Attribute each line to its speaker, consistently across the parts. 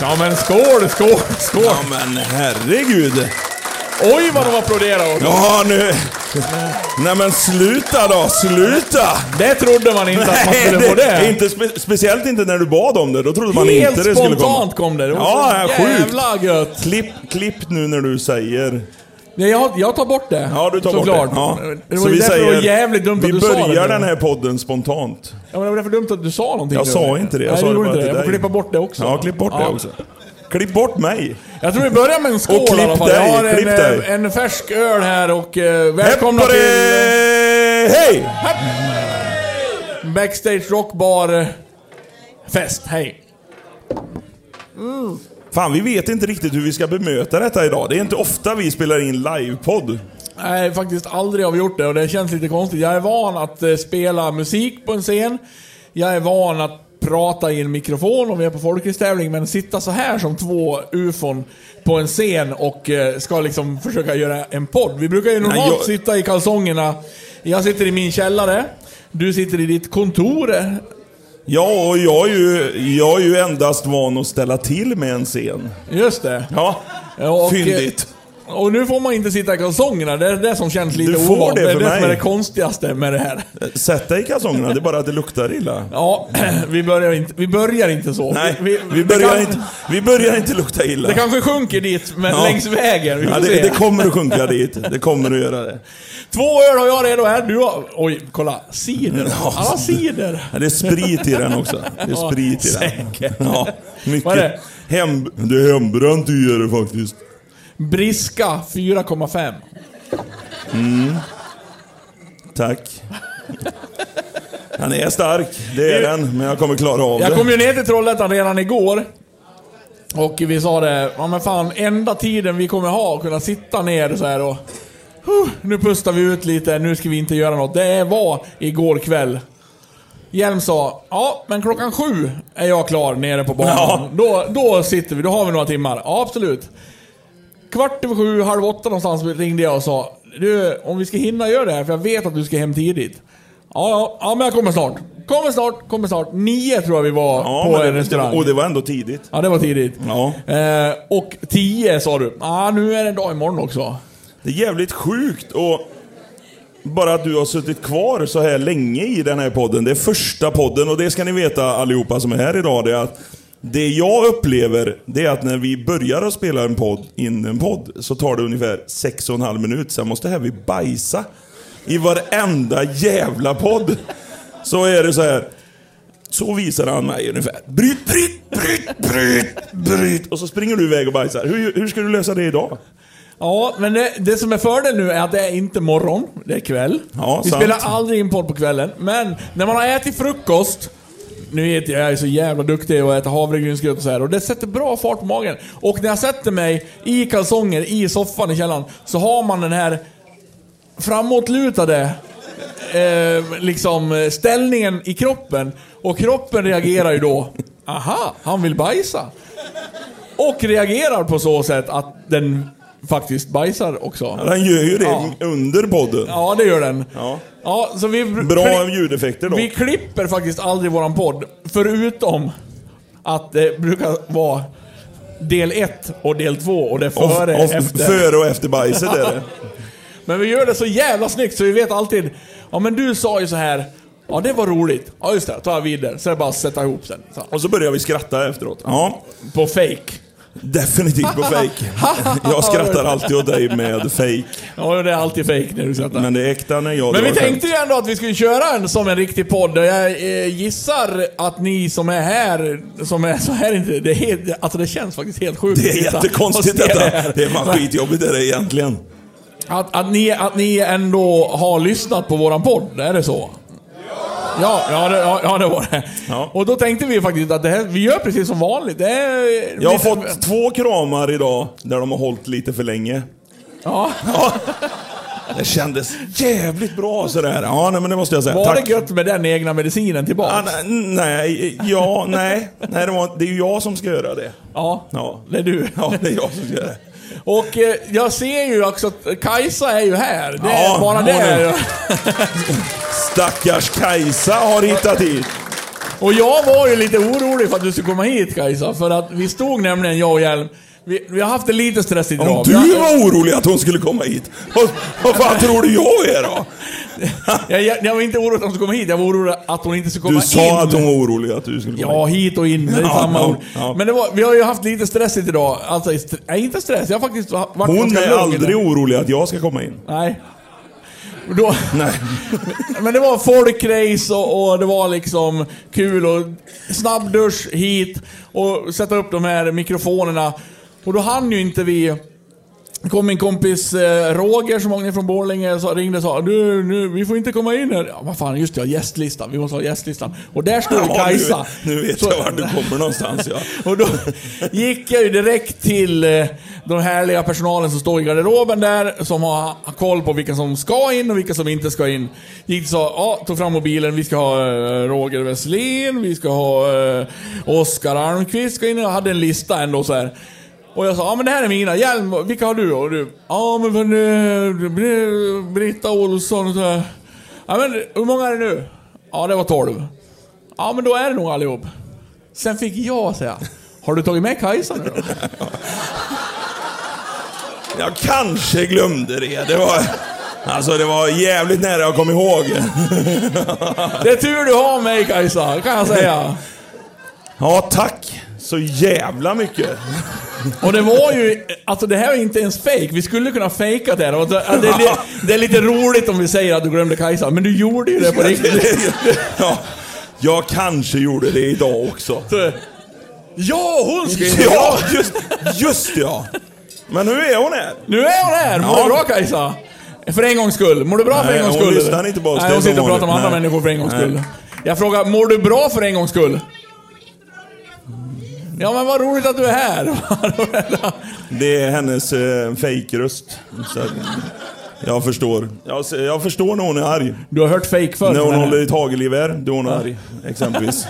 Speaker 1: Ja men skål, skål, skål!
Speaker 2: Ja men herregud.
Speaker 1: Oj vad de applåderar åt!
Speaker 2: Ja nu. Nej men sluta då, sluta!
Speaker 1: Det trodde man inte att man skulle få det.
Speaker 2: Inte spe, speciellt inte när du bad om det. Då trodde man
Speaker 1: Helt
Speaker 2: inte det skulle komma.
Speaker 1: spontant kom det. det var
Speaker 2: Ja,
Speaker 1: så
Speaker 2: sjukt.
Speaker 1: jävla gött.
Speaker 2: Klipp, klipp nu när du säger...
Speaker 1: Nej, jag, jag tar bort det.
Speaker 2: Ja, du tar
Speaker 1: Såklart.
Speaker 2: bort det.
Speaker 1: Det var ju därför det var jävligt dumt att
Speaker 2: Vi
Speaker 1: du sa det.
Speaker 2: börjar den här podden spontant.
Speaker 1: Ja, men det var därför dumt att du sa någonting.
Speaker 2: Jag
Speaker 1: nu.
Speaker 2: sa inte det, jag
Speaker 1: Nej,
Speaker 2: sa
Speaker 1: du
Speaker 2: det
Speaker 1: gjorde
Speaker 2: bara
Speaker 1: inte det.
Speaker 2: till
Speaker 1: Jag får
Speaker 2: dig.
Speaker 1: klippa bort det också.
Speaker 2: Ja, klipp bort det
Speaker 1: Ja.
Speaker 2: också. Klipp bort mig.
Speaker 1: Jag tror vi börjar med en skål
Speaker 2: Och klipp
Speaker 1: i alla fall.
Speaker 2: dig,
Speaker 1: jag har en,
Speaker 2: klipp
Speaker 1: eh,
Speaker 2: dig.
Speaker 1: en färsk öl här och eh, välkomna
Speaker 2: Hepp på
Speaker 1: till
Speaker 2: dig! Hej!
Speaker 1: eh, Backstage Rockbar eh, Fest. Hej.
Speaker 2: Fan, vi vet inte riktigt hur vi ska bemöta detta idag. Det är inte ofta vi spelar in livepodd.
Speaker 1: Nej, faktiskt aldrig har vi gjort det och det känns lite konstigt. Jag är van att eh, spela musik på en scen. Jag är van att prata i en mikrofon om vi är på folkracetävling, men sitta så här som två ufon på en scen och eh, ska liksom försöka göra en podd. Vi brukar ju normalt
Speaker 2: Nej, jag-
Speaker 1: sitta i kalsongerna. Jag sitter i min källare. Du sitter i ditt kontor.
Speaker 2: Ja, och jag är, ju, jag är ju endast van att ställa till med en scen.
Speaker 1: Just det.
Speaker 2: Ja,
Speaker 1: Ja, och, eh,
Speaker 2: fyndigt.
Speaker 1: Och nu får man inte sitta i kalsongerna. Det är det som känns lite
Speaker 2: Du får
Speaker 1: ovant.
Speaker 2: det
Speaker 1: Det är
Speaker 2: för
Speaker 1: det som är
Speaker 2: mig.
Speaker 1: det konstigaste med det här.
Speaker 2: Sätt dig i kalsongerna, det är bara att det luktar illa.
Speaker 1: Ja, vi börjar inte, vi börjar inte så.
Speaker 2: Nej, vi,
Speaker 1: det
Speaker 2: börjar
Speaker 1: kan-
Speaker 2: inte, vi börjar inte lukta illa.
Speaker 1: Det kanske sjunker dit, men
Speaker 2: Ja.
Speaker 1: längs vägen. Vi får
Speaker 2: ja,
Speaker 1: se.
Speaker 2: det, det kommer att sjunka dit. Det kommer att göra det.
Speaker 1: Två öl har jag redo här. Du har... Oj, kolla. Cider.
Speaker 2: Ja.
Speaker 1: Alla cider.
Speaker 2: Ja, Det är sprit i den också. Det
Speaker 1: Ja,
Speaker 2: är sprit i den.
Speaker 1: säkert.
Speaker 2: Ja, mycket.
Speaker 1: Vad är
Speaker 2: Hem, det är hembränt i det faktiskt.
Speaker 1: Briska 4,5.
Speaker 2: Tack. Han är stark, det är den. Men jag kommer klara av
Speaker 1: Jag
Speaker 2: det.
Speaker 1: kom ju ner till Trollhättan redan igår. Och vi sa det, ja men fan, enda tiden vi kommer ha att kunna sitta ner så här och... "Huh, Nu pustar vi ut lite, nu ska vi inte göra något. Det var igår kväll. Hjelm sa, ja men klockan sju är jag klar nere på banan.
Speaker 2: Ja.
Speaker 1: Då, då sitter vi, då har vi några timmar. Ja, absolut. Kvart över sju, halv åtta någonstans ringde jag och sa, du om vi ska hinna göra det här, för jag vet att du ska hem tidigt. Ja, ja, ja men jag kommer snart. Kommer snart, kommer snart. Nio tror jag vi var
Speaker 2: Ja,
Speaker 1: på
Speaker 2: men
Speaker 1: en
Speaker 2: det-
Speaker 1: restaurang.
Speaker 2: Och det var ändå tidigt.
Speaker 1: Ja, det var tidigt.
Speaker 2: Ja.
Speaker 1: Eh, och 10 sa du. ah, nu är det en dag imorgon också.
Speaker 2: Det är jävligt sjukt och bara att du har suttit kvar så här länge i den här podden. Det är första podden och det ska ni veta allihopa som är här idag. Det är att det jag upplever, det är att när vi börjar att spela en podd, in en podd, så tar det ungefär sex och en halv minut. Sen måste här vi bajsa. I varenda jävla podd. Så är det så här. Så visar han mig ungefär. Bryt, bryt, bryt, bryt, bryt. Och så springer du iväg och bajsar. Hur, hur ska du lösa det idag?
Speaker 1: Ja, men det, det som är fördel nu är att det är inte morgon, det är kväll.
Speaker 2: Ja,
Speaker 1: vi
Speaker 2: sant.
Speaker 1: spelar aldrig in podd på kvällen, men när man har ätit frukost nu vet jag, jag är så jävla duktig och äter havregrynsgröt och så här och det sätter bra fart på magen. Och när jag sätter mig i kalsonger i soffan i källaren så har man den här framåtlutade eh, liksom eh, ställningen i kroppen. Och kroppen reagerar ju då. Aha, han vill bajsa. Och reagerar på så sätt att den faktiskt bajsar också.
Speaker 2: Ja, Den gör ju det
Speaker 1: Ja.
Speaker 2: under podden.
Speaker 1: Ja, det gör den.
Speaker 2: Ja.
Speaker 1: Ja, så vi,
Speaker 2: Bra ljudeffekter då.
Speaker 1: vi klipper faktiskt aldrig våran podd. Förutom att det brukar vara del 1 och del 2 och det är
Speaker 2: Och-
Speaker 1: före
Speaker 2: och
Speaker 1: efter.
Speaker 2: före och efter bajset är det.
Speaker 1: Men vi gör det så jävla snyggt så vi vet alltid. Ja men du sa ju så här. Ja det var roligt. Ja just det, då tar jag vidare. Så är det bara att sätta ihop sen. Så,
Speaker 2: Och så börjar vi skratta efteråt. Ja,
Speaker 1: på fake.
Speaker 2: definitivt på fake. Jag skrattar alltid åt dig med fake.
Speaker 1: Ja det är alltid fake när du skrattar. Men,
Speaker 2: Men det är äkta när jag drar
Speaker 1: vi
Speaker 2: skämt.
Speaker 1: tänkte ju ändå att vi skulle köra en som en riktig podd. Och jag eh, gissar att ni som är här, som är så här inte... Det, är, helt- alltså det känns faktiskt helt sjukt.
Speaker 2: Det
Speaker 1: att
Speaker 2: är
Speaker 1: sitta och
Speaker 2: jättekonstigt
Speaker 1: se
Speaker 2: detta.
Speaker 1: här.
Speaker 2: Det är fan skitjobbigt är det egentligen.
Speaker 1: Att, att, ni, att ni ändå har lyssnat på våran podd, är det så? Ja, ja, det, ja, ja det var det.
Speaker 2: Ja.
Speaker 1: Och då tänkte vi faktiskt att det här, vi gör precis som vanligt. Det är,
Speaker 2: Jag har fått två kramar idag där de har hållit lite för länge.
Speaker 1: Ja.
Speaker 2: Det kändes jävligt bra sådär. Ja, nej, men det måste jag säga.
Speaker 1: Var
Speaker 2: Tack.
Speaker 1: det gött med den egna medicinen
Speaker 2: Ja,
Speaker 1: tillbaks?
Speaker 2: nej, nej, ja, nej. nej det, var, det är ju jag som ska göra det.
Speaker 1: Ja,
Speaker 2: Ja.
Speaker 1: det är du.
Speaker 2: Ja, det är jag som ska göra det.
Speaker 1: Och eh, jag ser ju också att Kajsa är ju här. Det är
Speaker 2: Ja,
Speaker 1: bara
Speaker 2: hon
Speaker 1: det.
Speaker 2: är-
Speaker 1: är ju-
Speaker 2: Stackars Kajsa har hittat hit.
Speaker 1: Och jag var ju lite orolig för att du skulle komma hit Kajsa, för att vi stod nämligen, jag och Hjelm, vi, vi har haft det lite stressigt
Speaker 2: Om
Speaker 1: idag. Vi
Speaker 2: du
Speaker 1: har-
Speaker 2: var orolig att hon skulle komma hit, vad, vad fan tror du jag är då?
Speaker 1: jag, jag, jag var inte orolig att hon skulle komma hit, jag var orolig att hon inte skulle komma
Speaker 2: Du
Speaker 1: in.
Speaker 2: sa att hon var orolig att du skulle komma
Speaker 1: Ja,
Speaker 2: hit.
Speaker 1: hit och in. Det är
Speaker 2: Ja,
Speaker 1: samma
Speaker 2: ja,
Speaker 1: ord.
Speaker 2: ja.
Speaker 1: Men det var, vi har ju haft lite stressigt idag. Alltså, st- nej, inte stress. Jag har faktiskt varit
Speaker 2: Hon
Speaker 1: ganska
Speaker 2: är
Speaker 1: lugn
Speaker 2: aldrig
Speaker 1: idag.
Speaker 2: orolig att jag ska komma in.
Speaker 1: Nej. Då,
Speaker 2: Nej.
Speaker 1: men det var folkrace och, och det var liksom kul och snabb dusch hit och sätta upp de här mikrofonerna. Och då hann ju inte vi... Det kom min kompis eh, Roger som åkte från Borlänge och ringde och sa du, nu, vi får inte komma in här. Ja, vad fan, just det, ja, gästlistan. Vi måste ha gästlistan. Och där stod
Speaker 2: Ja, nu,
Speaker 1: Kajsa.
Speaker 2: nu vet
Speaker 1: Så-
Speaker 2: jag vart du kommer någonstans ja.
Speaker 1: och då gick jag ju direkt till eh, den härliga personalen som står i garderoben där, som har har koll på vilka som ska in och vilka som inte ska in. Gick och sa, ja, tog fram mobilen, vi ska ha eh, Roger Wesslin, vi ska ha eh, Oskar Almqvist, ska in. Jag hade en lista ändå så här. Och jag sa, ja men det här är mina, Hjelm, vilka har du? Och du, ja men men, eh, Br- Britta Olsson och så här. Ja men hur många är det nu? Ja det var 12. Ja men då är det nog allihop. Sen fick jag säga, har du tagit med Kajsa nu då?
Speaker 2: Jag kanske glömde det. Det var, alltså, det var jävligt nära jag kom ihåg.
Speaker 1: Det är tur du har mig Kajsa, kan jag säga.
Speaker 2: Ja, tack. Så jävla mycket.
Speaker 1: Och det var ju, alltså det här är inte ens fake. Vi skulle kunna fejka det här. Och Det, det, det, det är lite roligt om vi säger att du glömde Kajsa, men du gjorde ju det på riktigt.
Speaker 2: Ja, jag kanske gjorde det idag också.
Speaker 1: Ja, hon ska in.
Speaker 2: Ja, just, just det, ja. Men nu är hon här.
Speaker 1: Nu är hon här! Mår
Speaker 2: Ja.
Speaker 1: du bra Kajsa? För en gångs skull. Mår du bra för
Speaker 2: Nej,
Speaker 1: en gångs
Speaker 2: hon
Speaker 1: skull? eller?
Speaker 2: lyssnar inte på oss,
Speaker 1: Nej,
Speaker 2: det är
Speaker 1: hon
Speaker 2: som
Speaker 1: sitter och pratar med
Speaker 2: vanligt.
Speaker 1: andra
Speaker 2: Nej.
Speaker 1: människor för en gångs
Speaker 2: Nej.
Speaker 1: skull. Jag frågar, mår du bra för en gångs skull? Ja men vad roligt att du är här.
Speaker 2: Det är hennes eh, fejkröst. Så att- Jag förstår. Jag, ser- jag förstår när hon är arg.
Speaker 1: Du har hört fake förr.
Speaker 2: När hon
Speaker 1: men-
Speaker 2: håller i tagelgevär, då är hon arg. Exempelvis.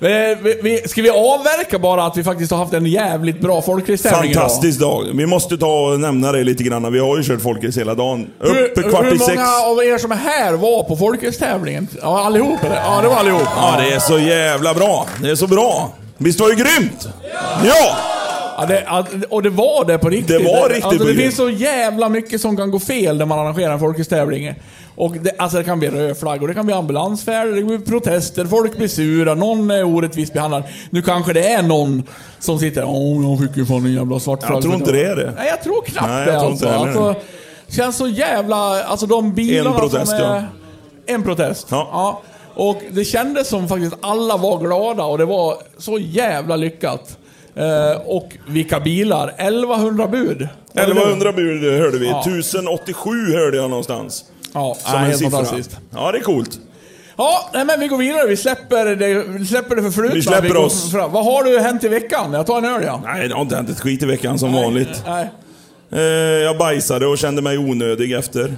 Speaker 1: Eh, vi- vi- Ska vi avverka bara att vi faktiskt har haft en jävligt bra folkracetävling idag?
Speaker 2: Fantastisk dag. Vi måste ta och nämna det lite grann. Vi har ju kört folkrace hela dagen. Uppe
Speaker 1: Hur,
Speaker 2: kvart
Speaker 1: hur
Speaker 2: i sex.
Speaker 1: många av er som är här var på folkracetävlingen? Ja, allihop eller? Ja, det var allihop.
Speaker 2: Ja, det är så jävla bra. Det är så bra. Visst var det grymt? Ja!
Speaker 1: Ja, det, ja, och det var det på riktigt.
Speaker 2: Det var riktigt
Speaker 1: alltså,
Speaker 2: på
Speaker 1: Det
Speaker 2: riktigt.
Speaker 1: finns så jävla mycket som kan gå fel när man arrangerar en folkracetävling. Och det, alltså det kan bli rödflaggor, det kan bli ambulansfärder, det blir protester, folk blir sura, någon är orättvist behandlad. Nu kanske det är någon som sitter Åh, jag fick ju fan en jävla svart flagg.
Speaker 2: Jag tror inte det är det.
Speaker 1: Nej, jag tror knappt
Speaker 2: Nej, jag
Speaker 1: det
Speaker 2: tror
Speaker 1: alltså.
Speaker 2: inte heller det.
Speaker 1: alltså. Känns så jävla... Alltså de bilarna
Speaker 2: En protest,
Speaker 1: som är... En protest.
Speaker 2: Ja.
Speaker 1: Och det kändes som faktiskt alla var glada och det var så jävla lyckat. Eh, och vilka bilar! 1100 bud. Var det det?
Speaker 2: 1100 bud hörde vi. 1087 hörde jag någonstans.
Speaker 1: Ja,
Speaker 2: Som
Speaker 1: nej,
Speaker 2: en
Speaker 1: helt
Speaker 2: siffra.
Speaker 1: fantastiskt.
Speaker 2: Ja, det är coolt.
Speaker 1: Ja, nej, men vi går vidare. Vi släpper det, vi släpper det förflutna.
Speaker 2: Vi släpper
Speaker 1: går
Speaker 2: oss.
Speaker 1: fram. Vad har du hänt i veckan? Jag tar en öl ja.
Speaker 2: Nej, det har inte hänt ett skit i veckan som vanligt.
Speaker 1: Nej.
Speaker 2: Eh, jag bajsade och kände mig onödig efter.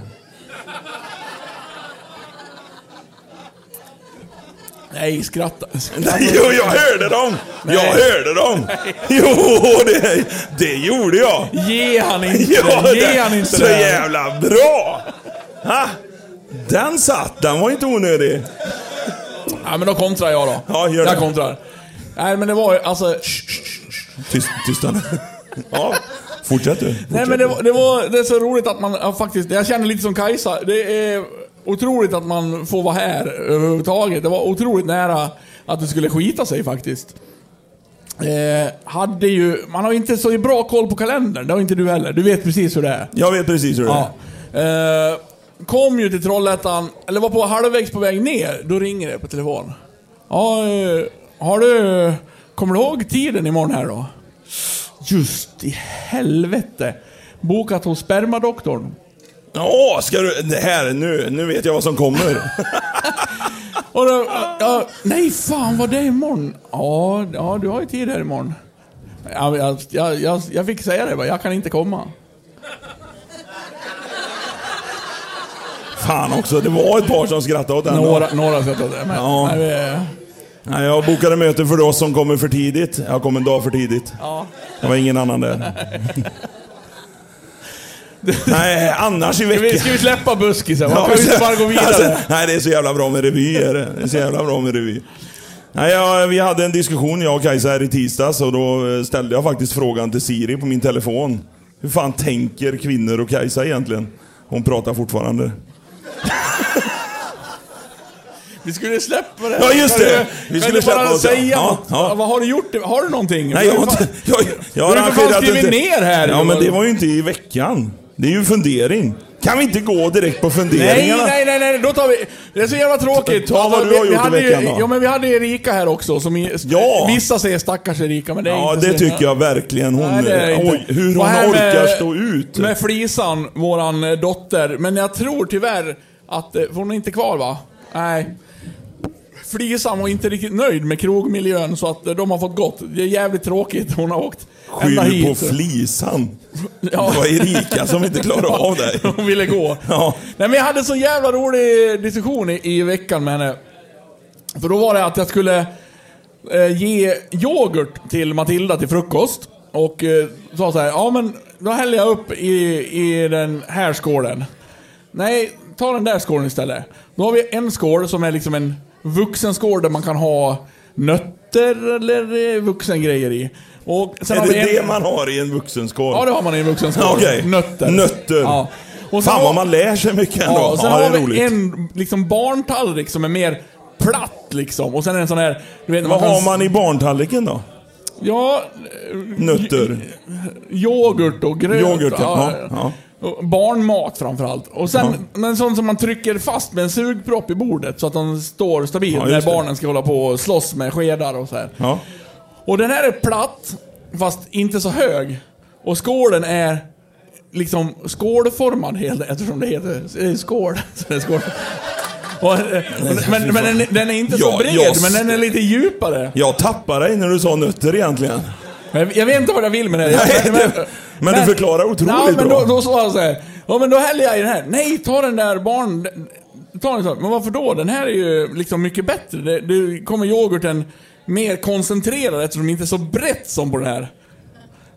Speaker 1: Nej, skratta.
Speaker 2: Nej, jo, jag hörde dem! Jag hörde dem! Jo, det, det gjorde jag!
Speaker 1: Ge han inte
Speaker 2: Ja,
Speaker 1: det! Ge han
Speaker 2: det,
Speaker 1: inte
Speaker 2: så
Speaker 1: det!
Speaker 2: jävla bra! Ha? Den satt, den var inte onödig.
Speaker 1: Ja, men då kontrar jag då.
Speaker 2: Ja, gör det.
Speaker 1: Jag kontrar. Nej, men det var ju alltså...
Speaker 2: Tyst, tystnad. Ja, fortsätt du. Fortsätt.
Speaker 1: Nej, men det var, det var... Det är så roligt att man ja, faktiskt... Jag känner lite som Kajsa. Det är otroligt att man får vara här överhuvudtaget. Det var otroligt nära att det skulle skita sig faktiskt. Eh, hade ju... Man har ju inte så bra koll på kalendern. Det har inte du heller. Du vet precis hur det är.
Speaker 2: Jag vet precis hur det är.
Speaker 1: Ja. Eh, kom ju till Trollhättan, eller var på halvvägs på väg ner, då ringer det på telefon. Ja, eh, har du... Kommer du ihåg tiden imorgon här då? Just i helvete. Bokat hos spermadoktorn.
Speaker 2: Åh, ska du... Det här, nu, nu vet jag vad som kommer.
Speaker 1: Och då, ja, nej fan, vad det är imorgon? Ja, ja, du har ju tid här imorgon. Ja, jag, jag, jag, jag fick säga det bara, jag kan inte komma.
Speaker 2: Fan också, det var ett par som skrattade åt den.
Speaker 1: Några, några sätt att det. Men,
Speaker 2: Ja.
Speaker 1: nej, vi-
Speaker 2: Nej, jag bokade möte för oss som kommer för tidigt. Jag kom en dag för tidigt.
Speaker 1: ja.
Speaker 2: Det var ingen annan där. Nej, annars i
Speaker 1: Ska vi, ska
Speaker 2: veckan.
Speaker 1: vi släppa buskisen? Man kan ju inte bara gå
Speaker 2: Alltså,
Speaker 1: vidare.
Speaker 2: nej, det är så jävla bra med revy. Är det. det är så jävla bra med revy. Nej, jag, vi hade en diskussion, jag och Kajsa, här i tisdags och då eh, ställde jag faktiskt frågan till Siri på min telefon. Hur fan tänker kvinnor och Kajsa egentligen? Hon pratar fortfarande.
Speaker 1: Vi skulle släppa det.
Speaker 2: Ja, just det.
Speaker 1: Kan
Speaker 2: Vi
Speaker 1: du-
Speaker 2: skulle
Speaker 1: kan du
Speaker 2: släppa
Speaker 1: bara
Speaker 2: oss, ja.
Speaker 1: säga
Speaker 2: Ja,
Speaker 1: något?
Speaker 2: ja.
Speaker 1: Vad har du gjort? Har du någonting?
Speaker 2: Nej, jag har
Speaker 1: Vad fan-
Speaker 2: inte... Jag, jag
Speaker 1: Du har ju för fan
Speaker 2: arrangerat
Speaker 1: skrivit
Speaker 2: inte-
Speaker 1: ner här.
Speaker 2: Ja, men det var ju inte i veckan. Det är ju fundering. Kan vi inte gå direkt på
Speaker 1: Nej,
Speaker 2: funderingarna?
Speaker 1: nej, nej, nej, då tar vi... Det är så jävla tråkigt.
Speaker 2: Ta vad du har
Speaker 1: vi,
Speaker 2: gjort i
Speaker 1: vi hade
Speaker 2: veckan
Speaker 1: ju,
Speaker 2: då.
Speaker 1: Ja, men vi hade Erika här också. Som i,
Speaker 2: Ja.
Speaker 1: Vissa säger stackars Erika, men det är
Speaker 2: Ja,
Speaker 1: inte
Speaker 2: det tycker jag verkligen. Hon,
Speaker 1: Nej, det är det inte.
Speaker 2: oj, hur
Speaker 1: Och
Speaker 2: hon
Speaker 1: här med-
Speaker 2: orkar stå ut.
Speaker 1: Med Flisan, våran eh, dotter. Men jag tror tyvärr att... eh, för Hon är inte kvar va? Nej. Flisan var inte riktigt nöjd med krogmiljön så att eh, de har fått gått. Det är jävligt tråkigt. Hon har åkt ända
Speaker 2: Skyll på
Speaker 1: hit.
Speaker 2: flisan.
Speaker 1: Ja.
Speaker 2: Det var Erika som inte klarade av det.
Speaker 1: Hon ville gå.
Speaker 2: Ja.
Speaker 1: Nej men jag hade så jävla rolig diskussion i, i veckan med henne. För då var det att jag skulle eh, ge yoghurt till Matilda till frukost. Och eh, sa så här, ja men då häller jag upp i, i den här skålen. Nej, ta den där skålen istället. Då har vi en skål som är liksom en vuxen skål där man kan ha nötter eller eh, vuxengrejer i. Och sen
Speaker 2: Är
Speaker 1: har vi
Speaker 2: det
Speaker 1: en,
Speaker 2: det man har i en vuxenskål?
Speaker 1: Ja, det har man i en vuxen skål.
Speaker 2: Okej.
Speaker 1: Nötter.
Speaker 2: Nötter.
Speaker 1: Ja. Och sen
Speaker 2: Fan
Speaker 1: har-
Speaker 2: vad man lär sig mycket ändå.
Speaker 1: Ja,
Speaker 2: Ja,
Speaker 1: och sen
Speaker 2: det
Speaker 1: har
Speaker 2: är
Speaker 1: vi
Speaker 2: roligt.
Speaker 1: en liksom, barntallrik som är mer platt liksom. Och sen är det en sån här... Du vet,
Speaker 2: Vad
Speaker 1: kan-
Speaker 2: har man i barntallriken då?
Speaker 1: Ja,
Speaker 2: Nötter?
Speaker 1: yoghurt och gröt.
Speaker 2: Yoghurt, ja, ja.
Speaker 1: Och Barnmat framförallt. Och sen, men sånt som man trycker fast med en sugpropp i bordet så att den står stabil
Speaker 2: Ja,
Speaker 1: när
Speaker 2: just det.
Speaker 1: barnen ska hålla på och slåss med skedar och så här.
Speaker 2: Ja.
Speaker 1: Och den här är platt, fast inte så hög. Och skålen är liksom skålformad helt eftersom det heter det är skål. Så det är skål. Och, men men den, den är inte
Speaker 2: Ja,
Speaker 1: så bred,
Speaker 2: jag-
Speaker 1: men den är lite djupare.
Speaker 2: Jag tappade dig när du sa nötter egentligen.
Speaker 1: Men Jag vet inte vad jag vill med det.
Speaker 2: Nej,
Speaker 1: Jag-
Speaker 2: det- men du förklarar otroligt
Speaker 1: ja, men
Speaker 2: bra.
Speaker 1: Då, då sa han så här. Ja, men då häller jag i den här. Nej, ta den där barn... Ta den, så här. men varför då? Den här är ju liksom mycket bättre. Det, det kommer yoghurten mer koncentrerad eftersom det inte är så brett som på den här.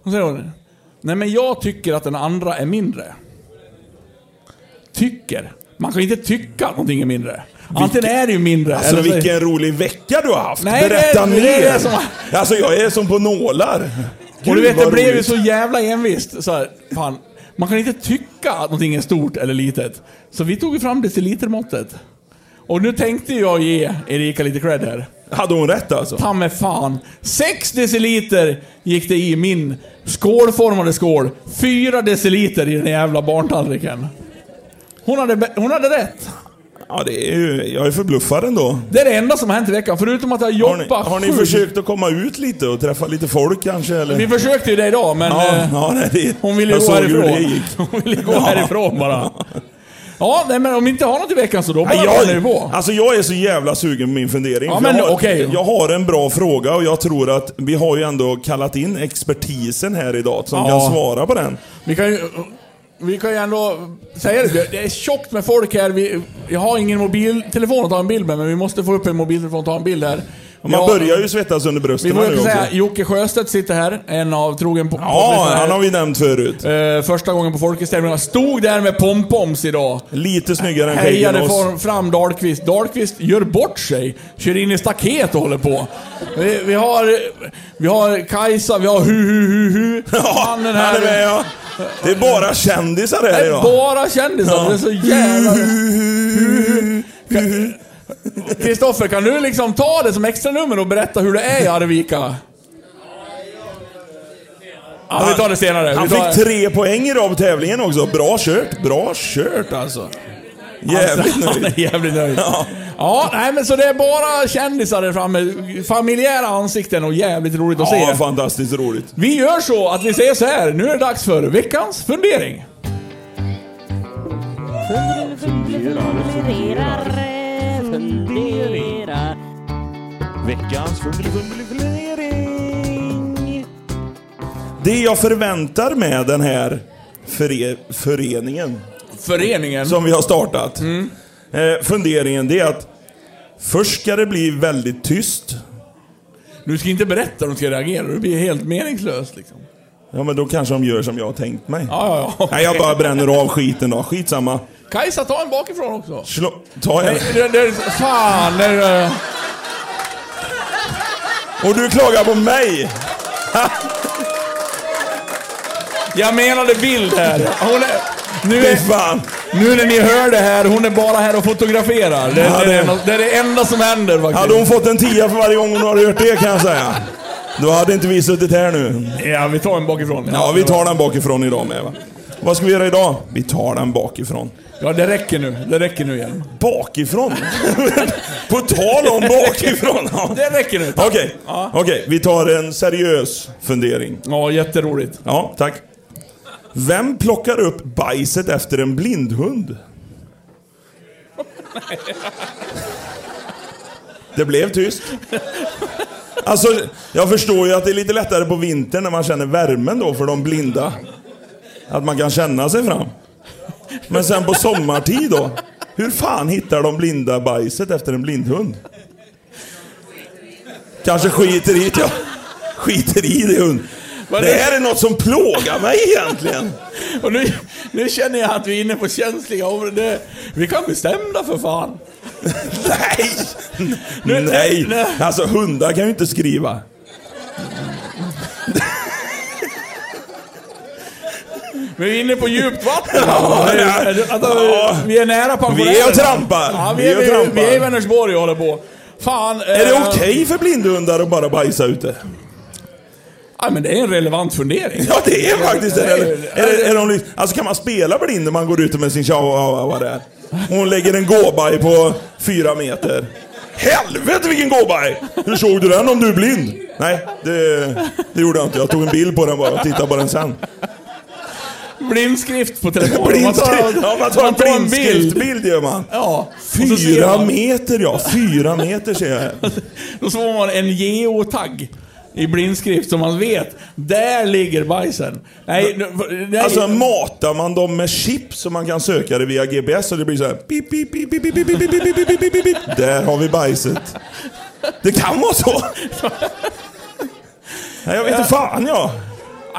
Speaker 1: Och säger hon, nej men jag tycker att den andra är mindre. Tycker? Man kan ju inte tycka att någonting är mindre. Antingen är det ju mindre.
Speaker 2: Alltså
Speaker 1: eller så-
Speaker 2: vilken rolig vecka du har haft.
Speaker 1: Nej,
Speaker 2: Berätta
Speaker 1: det-
Speaker 2: mer.
Speaker 1: det är det som-
Speaker 2: Alltså jag är som på nålar.
Speaker 1: Och du
Speaker 2: Gud,
Speaker 1: vet, det
Speaker 2: vad
Speaker 1: blev ju
Speaker 2: roligt.
Speaker 1: så jävla envist. Så här, fan, man kan inte tycka att någonting är stort eller litet. Så vi tog ju fram decilitermåttet. Och nu tänkte jag ge Erika lite cred här.
Speaker 2: Hade hon rätt alltså?
Speaker 1: Ta mig fan. 6 deciliter gick det i min skålformade skål. 4 deciliter i den jävla barntallriken. Hon hade, be- hon hade rätt.
Speaker 2: Ja, det är ju, jag är förbluffad ändå.
Speaker 1: Det är det enda som har hänt i veckan, förutom att jag
Speaker 2: Har ni,
Speaker 1: jobbar
Speaker 2: har ni
Speaker 1: sjukt.
Speaker 2: försökt att komma ut lite och träffa lite folk kanske? Eller?
Speaker 1: Vi försökte ju det idag, men...
Speaker 2: ja,
Speaker 1: eh,
Speaker 2: ja, nej, det,
Speaker 1: Hon ville
Speaker 2: jag
Speaker 1: gå
Speaker 2: såg hur
Speaker 1: härifrån.
Speaker 2: det gick.
Speaker 1: Hon ville gå härifrån bara. Ja, nej, men om vi inte har något i veckan så då bara
Speaker 2: Nej,
Speaker 1: bränner vi
Speaker 2: jag,
Speaker 1: på.
Speaker 2: alltså jag är så jävla sugen på min fundering.
Speaker 1: Ja,
Speaker 2: för
Speaker 1: men
Speaker 2: jag, har,
Speaker 1: okej.
Speaker 2: jag har en bra fråga och jag tror att vi har ju ändå kallat in expertisen här idag som
Speaker 1: Ja.
Speaker 2: kan svara på den.
Speaker 1: Vi kan ju... Vi kan ju ändå säga det, det är tjockt med folk här. Vi, jag har ingen mobiltelefon att ta en bild med, men vi måste få upp en mobiltelefon och ta en bild här.
Speaker 2: Man börjar ju svettas under
Speaker 1: Vi
Speaker 2: brösten här
Speaker 1: får
Speaker 2: nu
Speaker 1: ju
Speaker 2: också.
Speaker 1: säga, Jocke Sjöstedt sitter här, en av trogen po-
Speaker 2: Ja,
Speaker 1: poddlyssnare.
Speaker 2: han har vi nämnt förut.
Speaker 1: Eh, Första gången på Folkets tävling. Jag Stod där med pompoms idag.
Speaker 2: Lite snyggare än skäggen
Speaker 1: Hejade
Speaker 2: oss.
Speaker 1: fram- fram Dahlqvist. Dahlqvist gör bort sig. Kör in i staket och håller på. Vi, vi har... Vi har Kajsa, vi har hu hu hu hu
Speaker 2: Ja, han
Speaker 1: Mannen
Speaker 2: är med ja. Det är bara kändisar här
Speaker 1: Det är
Speaker 2: idag.
Speaker 1: bara kändisar. Det är så jävla... Kristoffer, kan du liksom ta det som extra nummer och berätta hur det är i Arvika? Ja, vi tar det senare.
Speaker 2: Han
Speaker 1: Vi tar...
Speaker 2: fick tre poäng idag på tävlingen också. Bra kört, bra kört alltså. Jävligt
Speaker 1: Alltså, Han
Speaker 2: nöjd.
Speaker 1: är jävligt nöjd.
Speaker 2: Ja.
Speaker 1: Ja, nej men så det är bara kändisar där framme. Familjära ansikten och jävligt roligt att
Speaker 2: Ja,
Speaker 1: se.
Speaker 2: fantastiskt roligt.
Speaker 1: Vi gör så att vi säger så här. Nu är det dags för veckans fundering.
Speaker 3: Funderar, funderar.
Speaker 4: Veckans fundering.
Speaker 2: Det jag förväntar med den här före föreningen
Speaker 1: Föreningen.
Speaker 2: som vi har startat.
Speaker 1: Mm.
Speaker 2: Eh, funderingen det är att först ska det bli väldigt tyst.
Speaker 1: Du ska inte berätta hur de ska reagera. Det blir helt meningslöst liksom.
Speaker 2: Ja, men då kanske de gör som jag har tänkt mig.
Speaker 1: Ja, ja, ja.
Speaker 2: Nej, jag bara bränner av skiten då. Skitsamma.
Speaker 1: Kajsa, ta en bakifrån också.
Speaker 2: Slå, ta en.
Speaker 1: Det, det, fan, det, eh, det.
Speaker 2: Och du klagar på mig!
Speaker 1: Jag menade bild här. Hon är, nu,
Speaker 2: Fy
Speaker 1: är,
Speaker 2: fan!
Speaker 1: nu när ni hör det här, hon är bara här och fotograferar. Det,
Speaker 2: Ja,
Speaker 1: det,
Speaker 2: det-
Speaker 1: är det- det är det enda som händer faktiskt.
Speaker 2: Hade hon fått en tia för varje gång hon har hört det kan jag säga. Då hade inte vi suttit här nu.
Speaker 1: Ja, vi tar en bakifrån.
Speaker 2: Ja, vi tar den bakifrån idag med va. Vad ska vi göra idag? Vi tar den bakifrån.
Speaker 1: Ja, det räcker nu. Det räcker nu igen.
Speaker 2: Bakifrån? på tal om bakifrån! Ja.
Speaker 1: Det räcker nu.
Speaker 2: Okej, okej, vi tar en seriös fundering.
Speaker 1: Ja, jätteroligt.
Speaker 2: Ja, tack. Vem plockar upp bajset efter en blindhund? Det blev tyst. Alltså, jag förstår ju att det är lite lättare på vintern när man känner värmen då för de blinda. Att man kan känna sig fram. Men sen på sommartid då? Hur fan hittar de blinda bajset efter en blindhund? Kanske skiter i det. ja. Skiter i det hund.
Speaker 1: Vad
Speaker 2: Det
Speaker 1: är-
Speaker 2: här är något som plågar mig egentligen.
Speaker 1: Och nu, nu känner jag att vi är inne på känsliga områden. Det- Vi kan bestämma för fan.
Speaker 2: Nej!
Speaker 1: Nu-
Speaker 2: Nej!
Speaker 1: nu-
Speaker 2: Alltså hundar kan ju inte skriva.
Speaker 1: Men vi är inne på djupt vatten.
Speaker 2: Ja,
Speaker 1: Det
Speaker 2: ja.
Speaker 1: är- att- att-
Speaker 2: Ja.
Speaker 1: Vi är nära pensionären.
Speaker 2: Vi är och trampar.
Speaker 1: Ja, vi,
Speaker 2: Vi
Speaker 1: är,
Speaker 2: är och
Speaker 1: vi,
Speaker 2: trampar.
Speaker 1: vi är i Vänersborg och håller på. Fan. eh,
Speaker 2: Är det okej för blindhundar att bara bajsa ute?
Speaker 1: Ja, men det är en relevant fundering.
Speaker 2: Ja, det är faktiskt det.
Speaker 1: Ja,
Speaker 2: Eller,
Speaker 1: ja,
Speaker 2: är det, är de, li- alltså kan man spela blind när man går ute med sin chihuahua där? Hon lägger en gåbaj på fyra meter. Helvete vilken gåbaj! Hur såg du den om du är blind? Nej, det, det gjorde jag inte. Jag tog en bild på den bara och tittade på den sen.
Speaker 1: Blindskrift på telefonen.
Speaker 2: Blindskrift! Ja, man tar en blindskriftbild gör man.
Speaker 1: Ja. och så ser
Speaker 2: Fyra
Speaker 1: man-
Speaker 2: meter ja, fyra meter ser jag. här.
Speaker 1: Då får man en geotagg i blindskrift som man vet. Där ligger bajsen. Nej, nu- nej.
Speaker 2: Alltså matar man dem med chip så man kan söka det via GPS och det blir så här pip, pip, pip, pip, pip, pip, pip, pip, pip, pip, pip, pip, pip. Där har vi bajset. Det kan vara så. Nej, jag vet inte fan ja.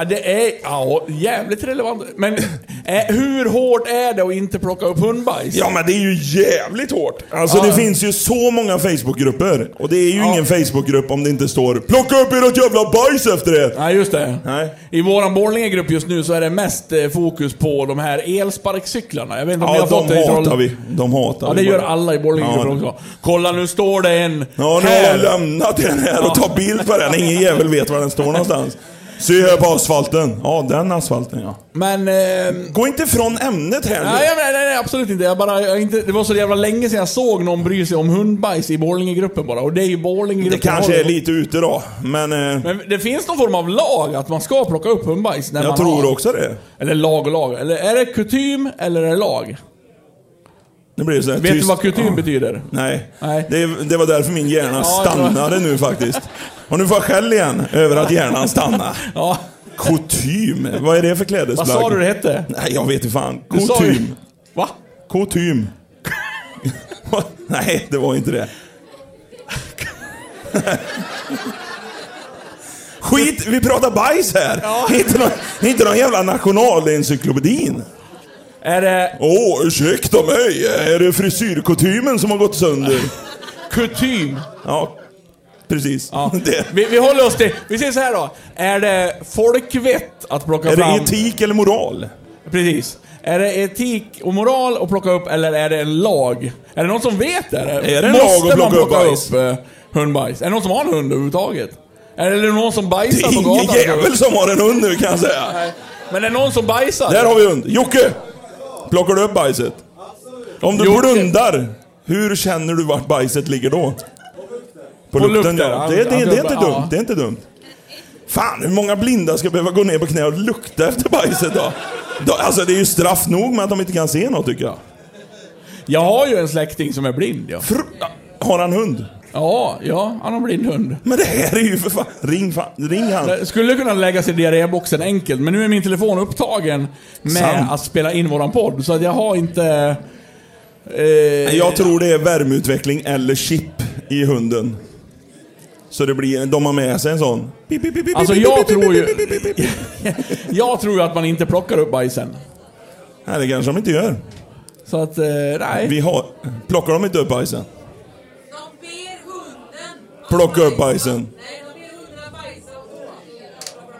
Speaker 1: Ja, det är ja, jävligt relevant. Men eh, hur hårt är det att inte plocka upp hundbajs?
Speaker 2: Ja men det är ju jävligt hårt. Alltså
Speaker 1: Ja.
Speaker 2: det finns ju så många Facebookgrupper. Och det är ju
Speaker 1: Ja.
Speaker 2: ingen Facebookgrupp om det inte står Plocka upp ert jävla bajs efter det.
Speaker 1: Nej, just det.
Speaker 2: Nej.
Speaker 1: I våran Borlänge-grupp just nu så är det mest eh, fokus på de här elsparkcyklarna. Jag vet inte om ni
Speaker 2: Ja,
Speaker 1: har
Speaker 2: de
Speaker 1: fått det i
Speaker 2: hatar
Speaker 1: Troll-
Speaker 2: vi. De hatar
Speaker 1: Ja,
Speaker 2: vi
Speaker 1: det gör
Speaker 2: bara.
Speaker 1: alla i Borlänge-gruppen
Speaker 2: Ja.
Speaker 1: också. Kolla, nu står det en
Speaker 2: Ja, nu har
Speaker 1: här.
Speaker 2: jag lämnat den här och tar bild på den. Ingen jävel vet var den står någonstans. Se här på asfalten. Ja, den asfalten ja.
Speaker 1: Men... Eh,
Speaker 2: Gå inte från ämnet här nu.
Speaker 1: Nej, jag menar, nej, nej, absolut inte. Jag bara, jag inte. Det var så jävla länge sedan jag såg någon bry sig om hundbajs i Borlänge-gruppen bara. Och det är ju Borlänge-gruppen.
Speaker 2: det kanske är lite ute då, men eh,
Speaker 1: Men det finns någon form av lag att man ska plocka upp hundbajs när
Speaker 2: jag
Speaker 1: man
Speaker 2: tror
Speaker 1: har.
Speaker 2: också det.
Speaker 1: Eller lag och lag. Eller är det kutym eller är det lag?
Speaker 2: Det blir så här
Speaker 1: Vet
Speaker 2: tyst.
Speaker 1: du vad kutym
Speaker 2: Ja.
Speaker 1: betyder?
Speaker 2: Nej,
Speaker 1: Nej.
Speaker 2: Det, det var därför min hjärna
Speaker 1: Ja, det var-
Speaker 2: stannade nu faktiskt. Och nu får jag skäll igen över att hjärnan stannar.
Speaker 1: Ja.
Speaker 2: Kutym, vad är det för klädesplagg?
Speaker 1: Vad sa du det hette?
Speaker 2: Nej, jag vet inte fan.
Speaker 1: Du sa ju-
Speaker 2: Kutym.
Speaker 1: Va?
Speaker 2: Kutym. Nej, det var inte det. Skit, vi pratar bajs här. Inte, någon, inte någon jävla nationalencyklopedin.
Speaker 1: Är det
Speaker 2: Åh, ursäkta mig. Är det frisyrkutymen som har gått sönder?
Speaker 1: kutym?
Speaker 2: Ja, precis.
Speaker 1: Ja.
Speaker 2: Det.
Speaker 1: Vi, vi håller oss till... Vi säger så här då. Är det folkvett att plocka
Speaker 2: Är
Speaker 1: fram...
Speaker 2: det etik eller moral?
Speaker 1: Precis. Är det etik och moral att plocka upp eller är det en lag? Är det någon som vet det?
Speaker 2: Är det en
Speaker 1: Måste
Speaker 2: lag att
Speaker 1: man
Speaker 2: plocka upp bajs?
Speaker 1: eh, hundbajs? Är det någon som har en hund överhuvudtaget? Är det någon som
Speaker 2: Det
Speaker 1: bajsar
Speaker 2: är
Speaker 1: på
Speaker 2: ingen
Speaker 1: gatan?
Speaker 2: jävel som har en hund nu kan jag säga.
Speaker 1: Nej. Men är det någon som bajsar?
Speaker 2: Där har vi hund. Jocke! Plockar du upp bajset? Om du
Speaker 1: Jocke.
Speaker 2: blundar, hur känner du vart bajset ligger då? På
Speaker 1: lukten,
Speaker 2: ja.
Speaker 1: ja.
Speaker 2: Det, det, det, är inte
Speaker 1: Ja.
Speaker 2: dumt. Det är inte dumt. Fan, hur många blinda ska behöva gå ner på knä och lukta efter bajset då? då alltså det är ju straff nog med att de inte kan se något tycker jag.
Speaker 1: Jag har ju en släkting som är blind ja.
Speaker 2: Fru- har han hund?
Speaker 1: Ja, ja han har en blind hund.
Speaker 2: Men det här är ju för fan... Ring, fan, ring han.
Speaker 1: Det Skulle kunna läggas i diarréboxen enkelt, men nu är min telefon upptagen med
Speaker 2: Sant.
Speaker 1: att spela in våran podd. Så att jag har inte... Eh,
Speaker 2: Jag tror det är värmeutveckling eller chip i hunden. Så det blir, de har med sig en sån. Pip, pip, pip, pip,
Speaker 1: Alltså
Speaker 2: pip,
Speaker 1: jag
Speaker 2: pip, pip,
Speaker 1: tror ju...
Speaker 2: pip, pip, pip, pip.
Speaker 1: Jag tror ju att man inte plockar upp bajsen.
Speaker 2: Nej, det kanske de inte gör.
Speaker 1: Så att, eh, nej.
Speaker 2: Vi har... Plockar de inte upp bajsen?
Speaker 5: De ber hunden att
Speaker 2: Plocka upp
Speaker 5: bajsa.
Speaker 2: bajsen.
Speaker 5: Nej, de ber hunden att bajsa och då plockar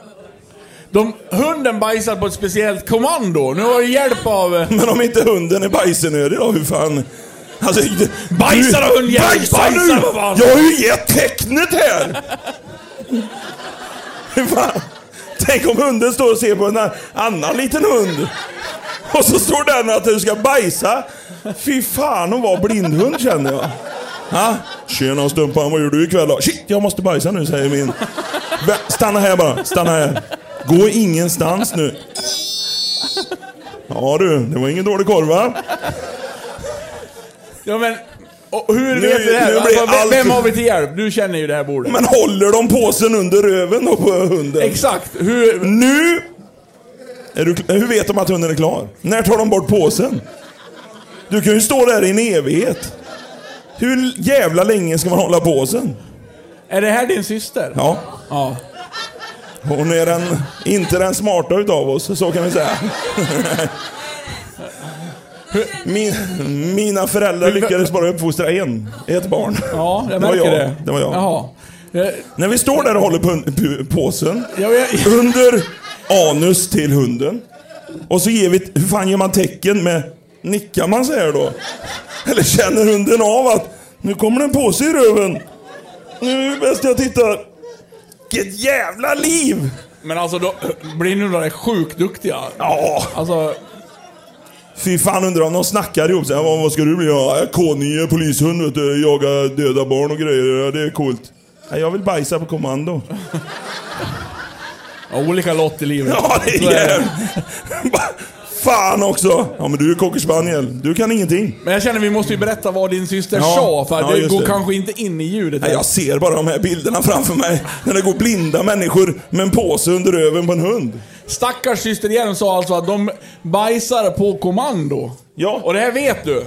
Speaker 5: de upp den.
Speaker 1: De, hunden bajsar på ett speciellt kommando. Nu har du hjälp av... eh,
Speaker 2: Men om inte hunden är bajsenödig då, hur fan... Alltså, det-
Speaker 1: Bajsa då,
Speaker 2: Du-
Speaker 1: hundjävel!
Speaker 2: Bajsa,
Speaker 1: Bajsa,
Speaker 2: nu!
Speaker 1: vad fan!
Speaker 2: Jag har ju gett tecknet här! Hur fan? Tänk om hunden står och ser på en a- annan liten hund. Och så står den att du ska bajsa. Fy fan hon var blindhund känner jag. Ha? Tjena Stumpan, vad gjorde du ikväll då? Shit, jag måste bajsa nu säger min. Vä- Stanna här bara, stanna här. Gå ingenstans nu. Ja du, det var ingen dålig korv va?
Speaker 1: Ja men... Och hur
Speaker 2: Nu-
Speaker 1: vet vi det här?
Speaker 2: nu blir
Speaker 1: Alltså, vem,
Speaker 2: allt-
Speaker 1: vem har vi till hjälp? Du känner ju det här bordet.
Speaker 2: Men håller de påsen under röven då på hunden?
Speaker 1: Exakt. Hur...
Speaker 2: nu! Är du, hur vet de att hunden är klar? När tar de bort påsen? Du kan ju stå där i en evighet. Hur jävla länge ska man hålla påsen?
Speaker 1: Är det här din syster?
Speaker 2: Ja,
Speaker 1: Ja.
Speaker 2: hon är den, inte den smarta utav oss, så kan vi säga. Min, mina föräldrar lyckades bara uppfostra en, ett barn.
Speaker 1: Ja, jag
Speaker 2: det var
Speaker 1: märker
Speaker 2: jag.
Speaker 1: det.
Speaker 2: Det var jag.
Speaker 1: Jaha. Eh,
Speaker 2: När vi står där och håller på pu- påsen,
Speaker 1: Ja, jag-
Speaker 2: under anus till hunden. Och så ger vi, hur fan ger man tecken med, nickar man så här då? Eller känner hunden av att, nu kommer det en påse i röven. Nu är det bäst jag tittar. Vilket jävla liv!
Speaker 1: Men alltså, då, blindhundar är sjukt duktiga.
Speaker 2: Ja,
Speaker 1: Alltså,
Speaker 2: fy fan undrar om de snackar ihop sig. Ja, Vad vad ska du bli? Ja, jag är K9, polishund vet du. Jaga döda barn och grejer. Ja, det är coolt. Ja, jag vill bajsa på kommando.
Speaker 1: ja, olika lott i livet.
Speaker 2: Ja, det
Speaker 1: Så är
Speaker 2: är jävligt. Fan också! Ja, men du är cocker spaniel. Du kan ingenting.
Speaker 1: Men jag känner vi måste ju berätta vad din syster
Speaker 2: Ja.
Speaker 1: sa, för att
Speaker 2: Ja,
Speaker 1: det
Speaker 2: just
Speaker 1: går
Speaker 2: det.
Speaker 1: kanske inte in i ljudet.
Speaker 2: Nej, jag ser bara de här bilderna framför mig. När det går blinda människor med en påse under röven på en hund.
Speaker 1: Stackars syster igen sa alltså att de bajsar på kommando.
Speaker 2: Ja.
Speaker 1: Och det här vet du?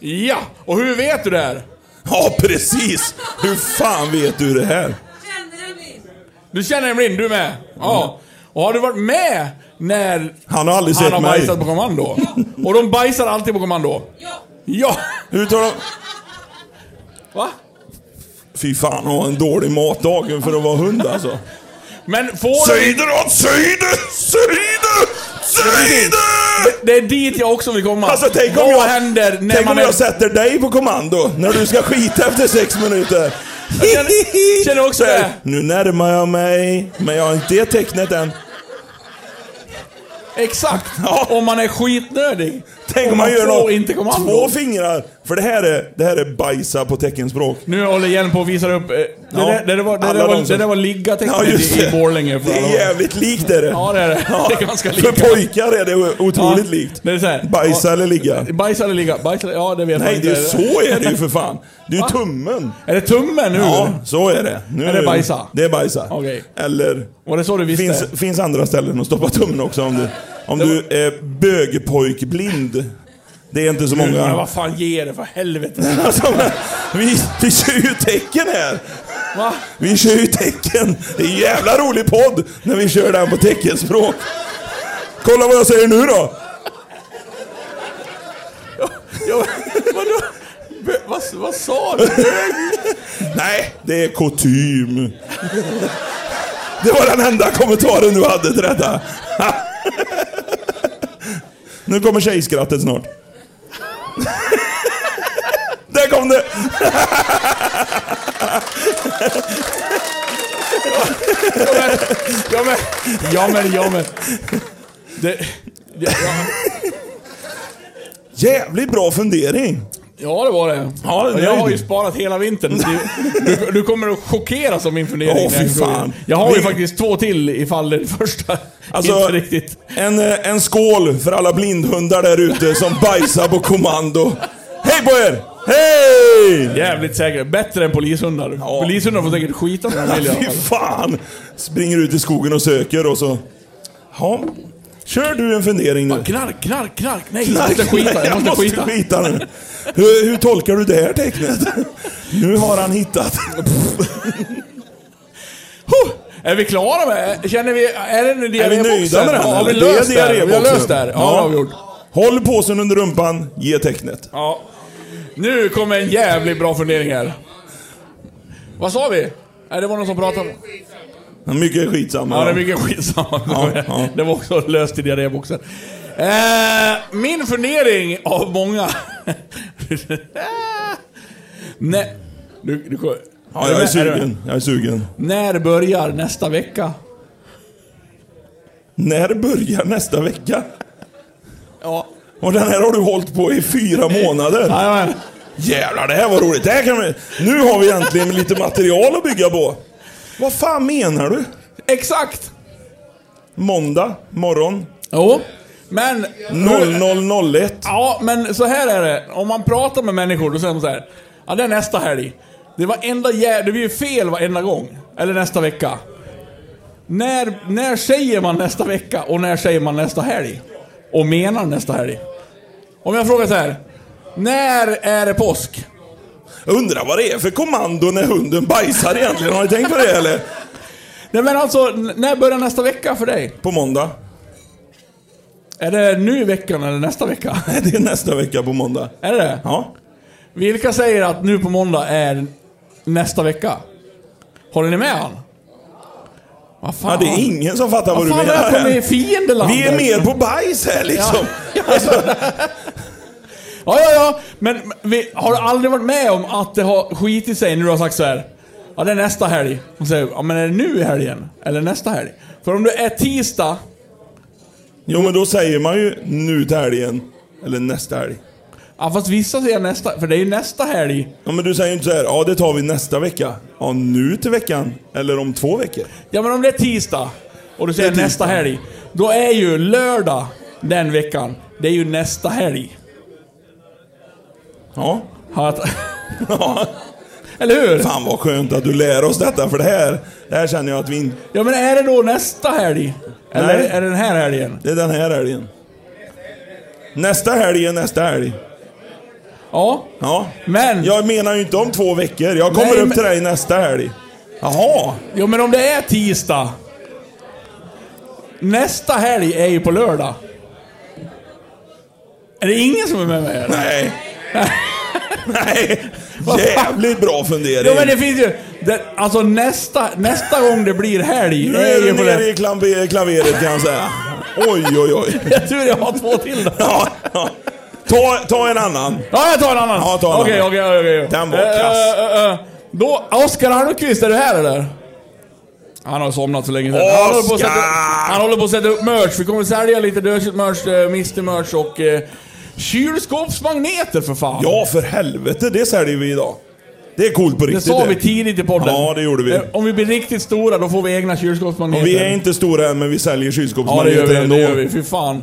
Speaker 1: Ja. Ja! Och hur vet du det här?
Speaker 2: Ja, precis! Hur fan vet du det här?
Speaker 5: Känner du min?
Speaker 1: Du känner en blind, du med? Ja. Och har du varit med när
Speaker 2: Han har aldrig
Speaker 1: han
Speaker 2: sett
Speaker 1: har
Speaker 2: mig.
Speaker 1: bajsat på kommando? Och de bajsar alltid på kommando?
Speaker 5: Ja.
Speaker 1: Ja!
Speaker 2: Hur tar de...
Speaker 1: Va?
Speaker 2: Fy fan, hon har en dålig matdag för att vara hund alltså.
Speaker 1: Men får de...
Speaker 2: Säg det då! Säg det! Säg det! Säg det!
Speaker 1: Det är dit jag också vill komma.
Speaker 2: Alltså tänk om
Speaker 1: Vad
Speaker 2: jag,
Speaker 1: händer när
Speaker 2: tänk
Speaker 1: man
Speaker 2: om
Speaker 1: är...
Speaker 2: jag sätter dig på kommando när du ska skita efter sex minuter.
Speaker 1: känner- känner också
Speaker 2: Så här,
Speaker 1: det.
Speaker 2: Nu närmar jag mig, men jag har inte det tecknet än.
Speaker 1: Exakt!
Speaker 2: Ja.
Speaker 1: Om man är skitnödig.
Speaker 2: Tänk
Speaker 1: Och
Speaker 2: om man gör
Speaker 1: får
Speaker 2: något.
Speaker 1: inte kommando.
Speaker 2: Två fingrar. För det här är, det här är bajsa på teckenspråk.
Speaker 1: Nu håller Hjelm på och visar upp... eh, Det,
Speaker 2: Ja,
Speaker 1: där, det, där, var, det,
Speaker 2: alla
Speaker 1: där, var,
Speaker 2: de som-
Speaker 1: det där var liggatecknet
Speaker 2: Ja, just
Speaker 1: i, i
Speaker 2: det.
Speaker 1: Borlänge.
Speaker 2: Det
Speaker 1: alla.
Speaker 2: är jävligt likt är det.
Speaker 1: Ja, det är det.
Speaker 2: Ja,
Speaker 1: Det är ganska
Speaker 2: För
Speaker 1: likt.
Speaker 2: pojkar är det otroligt likt.
Speaker 1: Det är så här.
Speaker 2: Bajsa
Speaker 1: Ja.
Speaker 2: eller ligga?
Speaker 1: Bajsa eller ligga? Bajsa eller... Ja, det vet man
Speaker 2: Nej,
Speaker 1: inte.
Speaker 2: det är så är det ju för fan. Det är ju tummen.
Speaker 1: Är det tummen nu?
Speaker 2: Ja, så är det. Nu,
Speaker 1: Är det bajsa?
Speaker 2: Det är bajsa.
Speaker 1: Okej.
Speaker 2: Eller...
Speaker 1: Var det så du visste?
Speaker 2: finns, finns andra ställen att stoppa tummen också om du, om du är bögpojkblind. Det är inte så
Speaker 1: Men
Speaker 2: många.
Speaker 1: vad fan ger det för helvete?
Speaker 2: Alltså, men, vi, vi kör ju tecken här!
Speaker 1: Va?
Speaker 2: Vi kör ju tecken! Det är en jävla rolig podd när vi kör den på teckenspråk. Kolla vad jag säger nu då!
Speaker 1: Ja, vadå? B- Vad, vad sa du?
Speaker 2: Nej, det är kutym. Det var den enda kommentaren du hade till detta. Nu kommer tjejskrattet snart. Där kom det!
Speaker 1: Ja men, ja men, ja men. Det, ja, ja.
Speaker 2: Jävligt bra fundering.
Speaker 1: ja, det var det.
Speaker 2: Ja, det är
Speaker 1: jag har
Speaker 2: nöjd.
Speaker 1: ju sparat hela vintern. Du, du, du kommer att chockeras av min fundering.
Speaker 2: Åh,
Speaker 1: när jag
Speaker 2: fy
Speaker 1: går in.
Speaker 2: fan.
Speaker 1: Jag har ju
Speaker 2: Vi-
Speaker 1: faktiskt två till ifall den första
Speaker 2: Alltså,
Speaker 1: inte riktigt...
Speaker 2: En, eh, en skål för alla blindhundar där ute som bajsar på kommando. Hej på er! Hej!
Speaker 1: Jävligt säkert. Bättre än polishundar. Polishundar får säkert skita om de vill i alla
Speaker 2: Fy
Speaker 1: fall.
Speaker 2: fan! Springer ut i skogen och söker och så... Ja. Kör du en fundering nu.
Speaker 1: Knark, knark, knark. Nej,
Speaker 2: Knark.
Speaker 1: jag måste skita.
Speaker 2: Jag måste skita nu. Hur, hur tolkar du det här tecknet? Nu har han hittat.
Speaker 1: Huh! Är vi klara med Känner vi... Är det nu
Speaker 2: Är vi nöjda med den?
Speaker 1: Ja, har vi
Speaker 2: eller? Det är
Speaker 1: löst det? här? Vi har
Speaker 2: diarréboxen.
Speaker 1: löst det här. Ja, det har vi gjort.
Speaker 2: Håll påsen under rumpan, ge tecknet.
Speaker 1: Ja. Nu kommer en jävligt bra fundering här. Vad sa vi? Nej, det var någon som pratade om...
Speaker 2: Mycket skitsamma.
Speaker 1: Ja, det är mycket skitsamma.
Speaker 2: Ja, ja.
Speaker 1: Det var också löst i diarréboxen. Eh, min fundering av många... Nej. Du, du,
Speaker 2: Ja, jag
Speaker 1: du med?
Speaker 2: är
Speaker 1: du med?
Speaker 2: sugen. Jag är sugen.
Speaker 1: När börjar nästa vecka?
Speaker 2: När börjar nästa vecka?
Speaker 1: Ja.
Speaker 2: Och den här har du hållit på i fyra månader.
Speaker 1: Jajamän.
Speaker 2: Jävlar, det här var roligt. Det här kan vi... Nu har vi äntligen lite material att bygga på. Vad fan menar du?
Speaker 1: Exakt!
Speaker 2: Måndag morgon
Speaker 1: Jo. Men...
Speaker 2: 00.01.
Speaker 1: Ja, men så här är det. Om man pratar med människor, då säger de så här. Ja, det är nästa helg. Det var enda jä- Det blir ju fel varenda gång. Eller nästa vecka. När, när säger man nästa vecka och när säger man nästa helg? Och menar nästa helg? Om jag frågar så här. När är det påsk?
Speaker 2: Jag undrar vad det är för kommando när hunden bajsar egentligen. Har ni tänkt på det eller?
Speaker 1: Nej men alltså, n- när börjar nästa vecka för dig?
Speaker 2: På måndag.
Speaker 1: Är det nu i veckan eller nästa vecka?
Speaker 2: Nej, Det är nästa vecka på måndag.
Speaker 1: Är det det?
Speaker 2: Ja.
Speaker 1: Vilka säger att nu på måndag är nästa vecka? Håller ni med han? Vad fan?
Speaker 2: ja det är ingen som fattar vad
Speaker 1: Vad
Speaker 2: du
Speaker 1: fan är jag
Speaker 2: menar.
Speaker 1: kommer i fiendelandet?
Speaker 2: Vi är mer på bajs här liksom.
Speaker 1: Ja, ja, ja. Men men vi, har du aldrig varit med om att det har skitit sig när du har sagt så här? Ja, det är nästa helg. Och säger ja men är det nu i helgen? Eller nästa helg? För om det är tisdag,
Speaker 2: Jo men då säger man ju nu till helgen. Eller nästa helg.
Speaker 1: ja fast vissa säger nästa, för det är ju nästa helg.
Speaker 2: Ja men du säger ju inte så här, ja det tar vi nästa vecka. Ja nu till veckan. Eller om två veckor.
Speaker 1: Ja men om det är tisdag och du säger
Speaker 2: Det är
Speaker 1: nästa helg. Då är ju lördag den veckan, det är ju nästa helg.
Speaker 2: Ja.
Speaker 1: Har jag t- Eller hur?
Speaker 2: Fan vad skönt att du lär oss detta för det här, det här känner jag att vi inte...
Speaker 1: Ja men är det då nästa helg? Eller
Speaker 2: Nej.
Speaker 1: är det den här helgen?
Speaker 2: Det är den här helgen. Nästa helg är nästa helg.
Speaker 1: Ja.
Speaker 2: Ja.
Speaker 1: Men,
Speaker 2: Jag menar ju inte om två veckor. Jag kommer
Speaker 1: Nej,
Speaker 2: upp
Speaker 1: men-
Speaker 2: till dig nästa helg. Jaha.
Speaker 1: jo, men om det är tisdag. Nästa helg är ju på lördag. Är det ingen som är med mig här?
Speaker 2: Nej. Nej. Jävligt bra fundering.
Speaker 1: Jo men det finns ju... Det, alltså nästa, nästa gång det blir helg
Speaker 2: Nu
Speaker 1: är
Speaker 2: är du
Speaker 1: ju på
Speaker 2: nere
Speaker 1: det.
Speaker 2: i klambe- klaveret kan jag säga. Oj, oj, oj.
Speaker 1: Jag tur jag har två till då.
Speaker 2: Ja, ja. Ta, ta en annan.
Speaker 1: Ja, jag tar en annan.
Speaker 2: Ja, ta en annan.
Speaker 1: Okej, okej, okej.
Speaker 2: Den var
Speaker 1: Eh,
Speaker 2: kass.
Speaker 1: eh, eh. Då, Oskar Almqvist, är du här eller? Han har somnat så länge sedan.
Speaker 2: Oskar!
Speaker 1: Han håller, på att sätta, han håller på att sätta upp merch. Vi kommer sälja lite Dödkött-merch, eh, Mr-merch och eh, kylskåpsmagneter för fan.
Speaker 2: Ja, för helvete. Det säljer vi idag. Det är coolt på
Speaker 1: det
Speaker 2: riktigt.
Speaker 1: sa vi tidigt i podden.
Speaker 2: Ja, det gjorde vi.
Speaker 1: Eh, Om vi blir riktigt stora, då får vi egna kylskåpsmagneter.
Speaker 2: Vi är inte stora än, men vi säljer
Speaker 1: Ja, det gör vi.
Speaker 2: kylskåpsmagneter ändå.
Speaker 1: Det gör vi. Fy fan.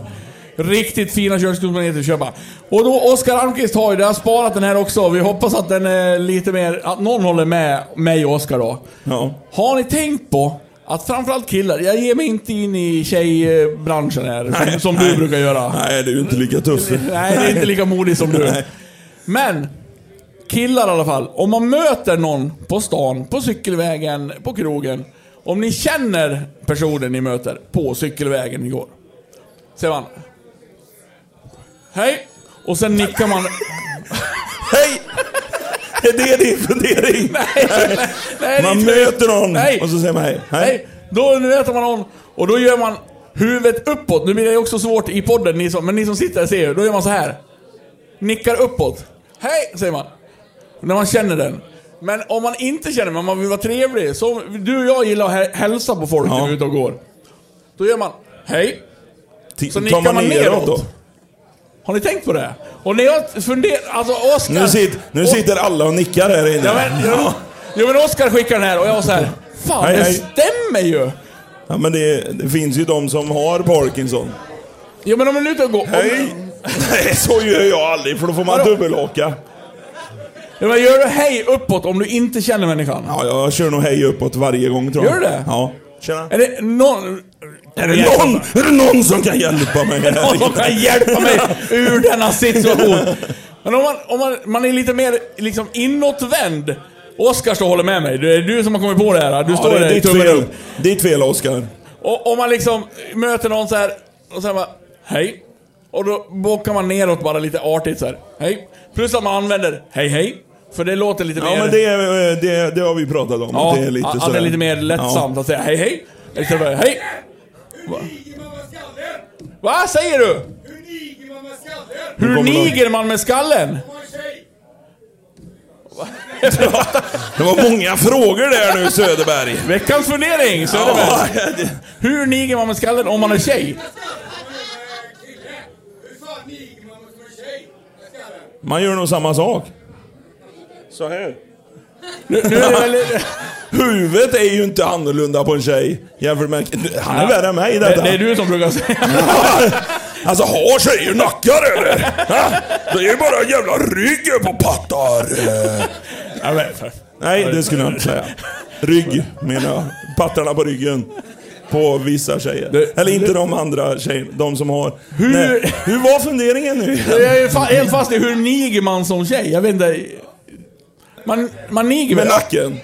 Speaker 1: Riktigt fina kylskåpsmagneter att köpa. Och då, Oskar Almqvist har ju, det har sparat den här också. Vi hoppas att den är lite mer, att någon håller med mig och Oskar då.
Speaker 2: Ja.
Speaker 1: Har ni tänkt på att framförallt killar, jag ger mig inte in i tjejbranschen här, som, som du
Speaker 2: nej.
Speaker 1: brukar göra.
Speaker 2: Nej, det är ju inte lika tufft.
Speaker 1: Nej, det är inte lika modig som du.
Speaker 2: Nej.
Speaker 1: Men, killar i alla fall. Om man möter någon på stan, på cykelvägen, på krogen. Om ni känner personen ni möter på cykelvägen igår. Säger man... Hej! Och sen nickar man...
Speaker 2: Hej! Är det din fundering?
Speaker 1: Nej,
Speaker 2: Man
Speaker 1: det är inte-
Speaker 2: möter någon
Speaker 1: Nej.
Speaker 2: och så säger man hej.
Speaker 1: Nej, då möter man någon och då gör man huvudet uppåt. Nu blir det ju också svårt i podden, ni som, men ni som sitter här ser ju. Då gör man så här. Nickar uppåt. Hej, säger man. När man känner den. Men om man inte känner men man vill vara trevlig. Som du och jag gillar att hä- hälsa på folk när
Speaker 2: Ja.
Speaker 1: vi är ute och går. Då gör man hej.
Speaker 2: T-
Speaker 1: Så
Speaker 2: tar
Speaker 1: nickar
Speaker 2: man neråt då?
Speaker 1: Har ni tänkt på det? Och när jag funderar... Alltså Oskar...
Speaker 2: Nu, sit, nu sitter alla och nickar här inne.
Speaker 1: Ja, men, ja. Jo men Oskar skickar den här och jag var så här. Fan,
Speaker 2: Hej,
Speaker 1: det
Speaker 2: hej."
Speaker 1: stämmer ju!
Speaker 2: Ja, men det, det finns ju de som har Parkinson.
Speaker 1: Jo men om man är ute och går... om-
Speaker 2: Hej! Nej, så gör jag aldrig för då får man
Speaker 1: Vadå?
Speaker 2: dubbelhaka.
Speaker 1: Ja, men gör du hej uppåt om du inte känner människan?
Speaker 2: Ja, jag kör nog hej uppåt varje gång tror jag.
Speaker 1: Gör du det?
Speaker 2: Ja. Tjena.
Speaker 1: Är det någon... Är
Speaker 2: Är det, någon, är det någon som kan hjälpa mig här?
Speaker 1: någon som kan hjälpa mig ur denna situation? Men om man, om man, man är lite mer liksom inåtvänd. Oskar står och håller med mig. Det är du som har kommit på det här. Du
Speaker 2: Ja,
Speaker 1: står
Speaker 2: det är
Speaker 1: där i
Speaker 2: ditt
Speaker 1: tummen
Speaker 2: fel.
Speaker 1: upp.
Speaker 2: Ditt fel, Oskar.
Speaker 1: Och om man liksom möter någon så här och sen bara hej. Och då bockar man neråt bara lite artigt så här. Hej. Plus att man använder hej hej. För det låter lite
Speaker 2: Ja,
Speaker 1: mer...
Speaker 2: men det, är, eh, det, det har vi pratat om.
Speaker 1: ja,
Speaker 2: att det är lite
Speaker 1: att det
Speaker 2: sådär.
Speaker 1: är lite mer lättsamt att säga hej hej. Istället för hej. Vad säger du? Hur
Speaker 2: kommer någon-
Speaker 1: niger man med skallen?
Speaker 2: Ja. Det var många frågor där nu, Söderberg.
Speaker 1: Veckans fundering! Så är det väl.
Speaker 2: Ja, det-
Speaker 1: Hur niger man med skallen om man är tjej?
Speaker 2: man gör nog samma sak. Så här.
Speaker 1: Nu, nu är det väl...
Speaker 2: Huvudet är ju inte annorlunda på en tjej jämfört med... Han är värre än mig i
Speaker 1: Det,
Speaker 2: detta.
Speaker 1: det är du som brukar säga.
Speaker 2: alltså har tjejer nackar eller? Ha? Det är ju bara jävla ryggen på pattar. eh. Nej, det skulle jag inte säga. Rygg menar jag. Pattarna på ryggen. På vissa tjejer.
Speaker 1: Det-
Speaker 2: eller inte de andra tjejerna. De som har...
Speaker 1: Hur-
Speaker 2: Nej. Hur var funderingen nu
Speaker 1: Jag är ju fa- helt fast i hur niger man som tjej. Jag vet inte... Man, man niger
Speaker 2: Med
Speaker 1: väl?
Speaker 2: nacken?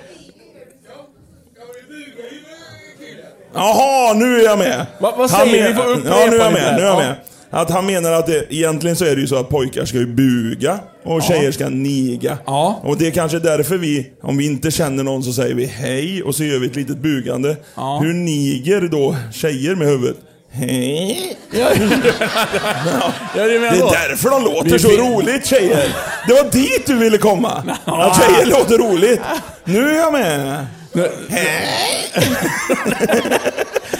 Speaker 2: Jaha, nu är jag med!
Speaker 1: Va- vad
Speaker 2: Han
Speaker 1: säger
Speaker 2: men-
Speaker 1: vi? Får upprepa
Speaker 2: Ja, nu är jag
Speaker 1: lite
Speaker 2: med.
Speaker 1: här.
Speaker 2: Nu är jag
Speaker 1: Ja.
Speaker 2: med. Att han menar att det, egentligen så är det ju så att pojkar ska ju buga och tjejer ska niga.
Speaker 1: Ja.
Speaker 2: Och det är kanske därför vi, om vi inte känner någon så säger vi hej och så gör vi ett litet bugande.
Speaker 1: Ja.
Speaker 2: Hur niger då tjejer med huvudet? Hej?
Speaker 1: Ja, ja, det menar
Speaker 2: Det är
Speaker 1: jag.
Speaker 2: därför de låter
Speaker 1: Vi
Speaker 2: så
Speaker 1: vill-
Speaker 2: roligt tjejer. Det var dit du ville komma. Att tjejer låter roligt. Nu är jag med.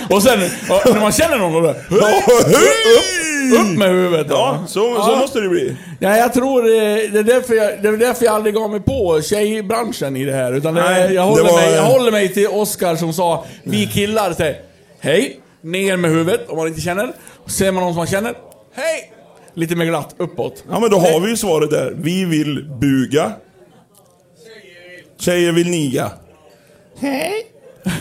Speaker 1: Och sen, ja, när man känner någon, då bara,
Speaker 2: Ja, hej!
Speaker 1: upp med huvudet.
Speaker 2: Ja, så, så måste det bli.
Speaker 1: Nej, jag tror eh, det är, därför jag, det är därför jag aldrig gav mig på tjejbranschen i det här. Utan det,
Speaker 2: Nej,
Speaker 1: jag, håller
Speaker 2: det var-
Speaker 1: mig, jag håller mig till Oscar som sa, vi killar säger hej, ner med huvudet om man inte känner. Ser man någon som man känner, hej! Lite mer glatt uppåt.
Speaker 2: Ja, men då har vi ju svaret där. Vi vill buga. Tjejer vill niga. Hej.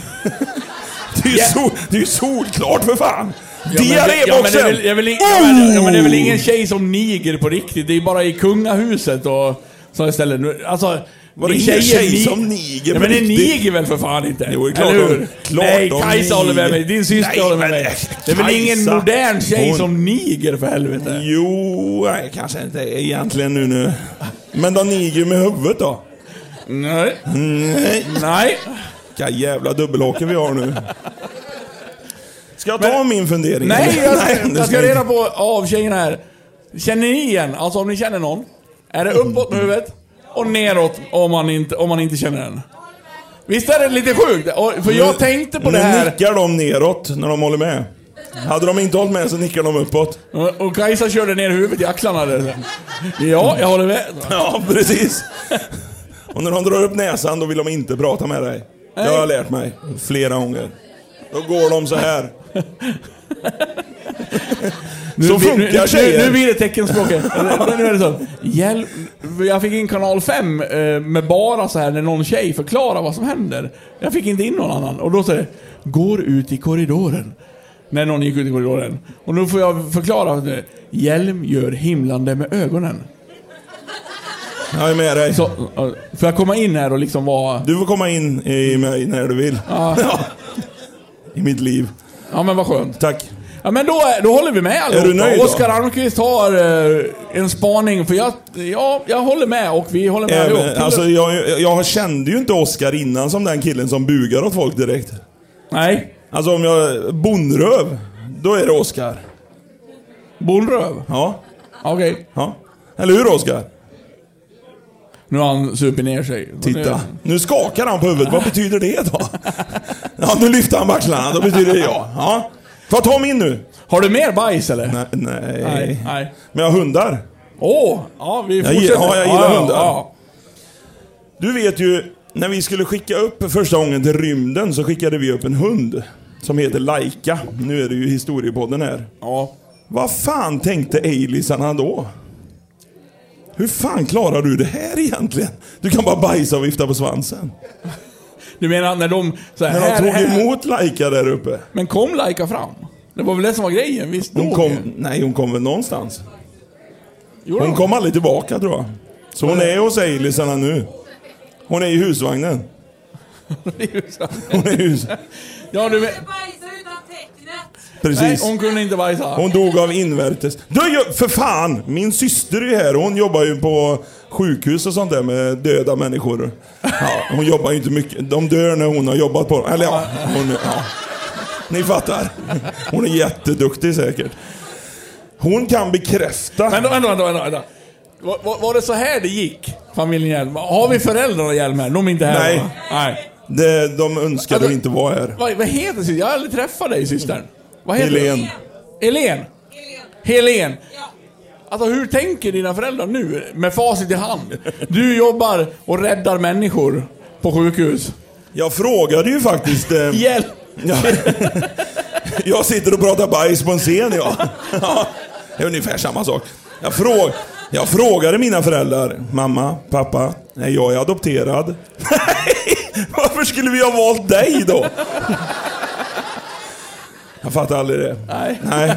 Speaker 2: Det är ju sol, det är ju solklart för
Speaker 1: Ja,
Speaker 2: fan.
Speaker 1: men det är
Speaker 2: Diarréboxen!
Speaker 1: väl- ja, men det- ja, men- ja, men det är väl ingen tjej som niger på riktigt. Det är bara i kungahuset och sådana ställen. Nu- Alltså,
Speaker 2: Var
Speaker 1: ni
Speaker 2: det ingen tjej
Speaker 1: ni-
Speaker 2: som niger
Speaker 1: ja,
Speaker 2: på
Speaker 1: men det
Speaker 2: riktigt?
Speaker 1: niger väl för fan inte?
Speaker 2: Jo, det är klart
Speaker 1: Eller hur?
Speaker 2: de- klart
Speaker 1: Nej,
Speaker 2: de
Speaker 1: Kajsa
Speaker 2: niger.
Speaker 1: håller med mig. Din syster
Speaker 2: Nej,
Speaker 1: håller med
Speaker 2: men,
Speaker 1: mig.
Speaker 2: eh,
Speaker 1: Det är väl ingen
Speaker 2: Kajsa,
Speaker 1: modern tjej
Speaker 2: hon-
Speaker 1: som niger för helvete?
Speaker 2: Jo, nej, kanske inte egentligen nu nu. Men de niger med huvudet då.
Speaker 1: Nej.
Speaker 2: Nej.
Speaker 1: Nej.
Speaker 2: Vilka jävla dubbelhake vi har nu. Ska jag ta min fundering?
Speaker 1: Nej,
Speaker 2: eller?
Speaker 1: jag,
Speaker 2: det
Speaker 1: jag ska
Speaker 2: jag
Speaker 1: reda
Speaker 2: inte.
Speaker 1: på av tjejerna här. Känner ni igen, alltså om ni känner någon, är det uppåt med huvudet och neråt om man inte, om man inte känner den? Visst är det lite sjukt? Och- För jag tänkte på det
Speaker 2: Nu
Speaker 1: här
Speaker 2: nickar de neråt när de håller med. Hade de inte hållit med så nickar de uppåt.
Speaker 1: och Kajsa körde ner huvudet i axlarna där sen. Ja, jag håller med.
Speaker 2: Ja, precis. Och när de drar upp näsan då vill de inte prata med dig. Det har jag lärt mig flera gånger. Då går de så här.
Speaker 1: Nu,
Speaker 2: Så
Speaker 1: blir-
Speaker 2: funkar
Speaker 1: nu, nu,
Speaker 2: tjejer.
Speaker 1: nu blir det teckenspråket. Nu- nu är det så. Hjälp. Jag fick in kanal 5 eh, med bara så här när någon tjej förklarar vad som händer. Jag fick inte in någon annan. Och då säger det, går ut i korridoren. När någon gick ut i korridoren. Och nu får jag förklara. att, eh, Hjelm gör himlande med ögonen.
Speaker 2: Jag är med dig.
Speaker 1: Så, eh, får jag komma in här och liksom vara...
Speaker 2: Du får komma in i mig när du vill. Ja. I mitt liv.
Speaker 1: Ja men vad skönt.
Speaker 2: Tack.
Speaker 1: Ja men då, eh, då håller vi med allihopa.
Speaker 2: Är du nöjd då?
Speaker 1: Oskar Almqvist har eh, en spaning. För jag, ja, jag håller med och vi håller med allihop.
Speaker 2: Även, alltså, jag, jag kände ju inte Oscar innan som den killen som bugar åt folk direkt.
Speaker 1: Nej.
Speaker 2: Alltså om jag... Bonröv. Då är det Oscar.
Speaker 1: Bonröv?
Speaker 2: Ja.
Speaker 1: Okej.
Speaker 2: ja. Eller hur Oscar?
Speaker 1: Nu har han supit ner sig.
Speaker 2: Titta. Nu skakar han på huvudet. Vad betyder det då? Ja, nu lyfter han axlarna. Då betyder det ja. ja. Får jag ta min nu?
Speaker 1: Har du mer bajs eller?
Speaker 2: Nej. nej.
Speaker 1: Nej. nej.
Speaker 2: Men jag har hundar.
Speaker 1: Åh! ja, vi
Speaker 2: Jag
Speaker 1: fortsätter.
Speaker 2: gillar- ja, jag gillar hundar.
Speaker 1: ja.
Speaker 2: Du vet ju, när vi skulle skicka upp första gången till rymden så skickade vi upp en hund. Som heter Laika. Nu är det ju historiepodden här.
Speaker 1: ja.
Speaker 2: Vad fan tänkte Eilisarna då? Hur fan klarar du det här egentligen? Du kan bara bajsa och vifta på svansen.
Speaker 1: Du menar när de... Så här,
Speaker 2: När de
Speaker 1: här,
Speaker 2: tog
Speaker 1: här.
Speaker 2: emot Laika där uppe.
Speaker 1: Men kom Laika fram? Det var väl det som var grejen? Visst
Speaker 2: Hon
Speaker 1: då?
Speaker 2: kom, nej, hon kom väl någonstans?
Speaker 1: Jo
Speaker 2: Hon
Speaker 1: då.
Speaker 2: kom aldrig tillbaka tror jag. Så hon är hos Eilisarna nu. Hon är i husvagnen. Hon är i hus...
Speaker 1: Ja, du vet.
Speaker 5: Bajsa utan tecknet.
Speaker 1: Nej,
Speaker 2: Precis.
Speaker 1: hon kunde inte bajsa.
Speaker 2: Hon dog av invärtes... Du, jag- för fan! Min syster är ju här och hon jobbar ju på sjukhus och sånt där med döda människor. Ja, hon jobbar ju inte mycket. De dör när hon har jobbat på dem. Eller ja, hon, ja. Ni fattar. Hon är jätteduktig säkert. Hon kan bekräfta.
Speaker 1: Vänta, vänta, vänta. vänta, vänta. Var, var, var det så här det gick? Familjen Hjelm? Har vi föräldrarna Hjelm här? De är inte här
Speaker 2: Nej.
Speaker 1: va? Nej.
Speaker 2: Det, de önskade inte vara här.
Speaker 1: Vad, vad heter systern? Jag har aldrig träffat dig systern. Vad heter
Speaker 2: Helen.
Speaker 1: du? Helen.
Speaker 5: Helen.
Speaker 1: Helen.
Speaker 5: Ja.
Speaker 1: Alltså hur tänker dina föräldrar nu? Med facit i hand. Du jobbar och räddar människor på sjukhus.
Speaker 2: Jag frågade ju faktiskt... Eh,
Speaker 1: Hjälp!
Speaker 2: Ja. Jag sitter och pratar bajs på en scen, ja. ja. Det är ungefär samma sak. Jag, fråg, jag frågade mina föräldrar. Mamma, pappa, är jag adopterad? Nej! Varför skulle vi ha valt dig då? Jag fattar aldrig det.
Speaker 1: Nej.
Speaker 2: Nej.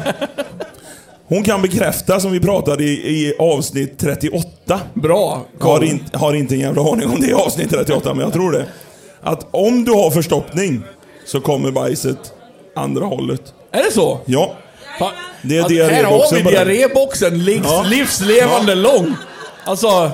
Speaker 2: Hon kan bekräfta, som vi pratade i, i avsnitt 38.
Speaker 1: Bra.
Speaker 2: Har, in, har inte en jävla aning om det i avsnitt 38, men jag tror det. Att om du har förstoppning så kommer bajset andra hållet.
Speaker 1: Är det så?
Speaker 2: Ja,
Speaker 1: Fan.
Speaker 2: det är
Speaker 1: här har vi
Speaker 2: diarréboxen bara.
Speaker 1: diarréboxen livs,
Speaker 2: Ja.
Speaker 1: livslevande
Speaker 2: Ja.
Speaker 1: lång. Alltså...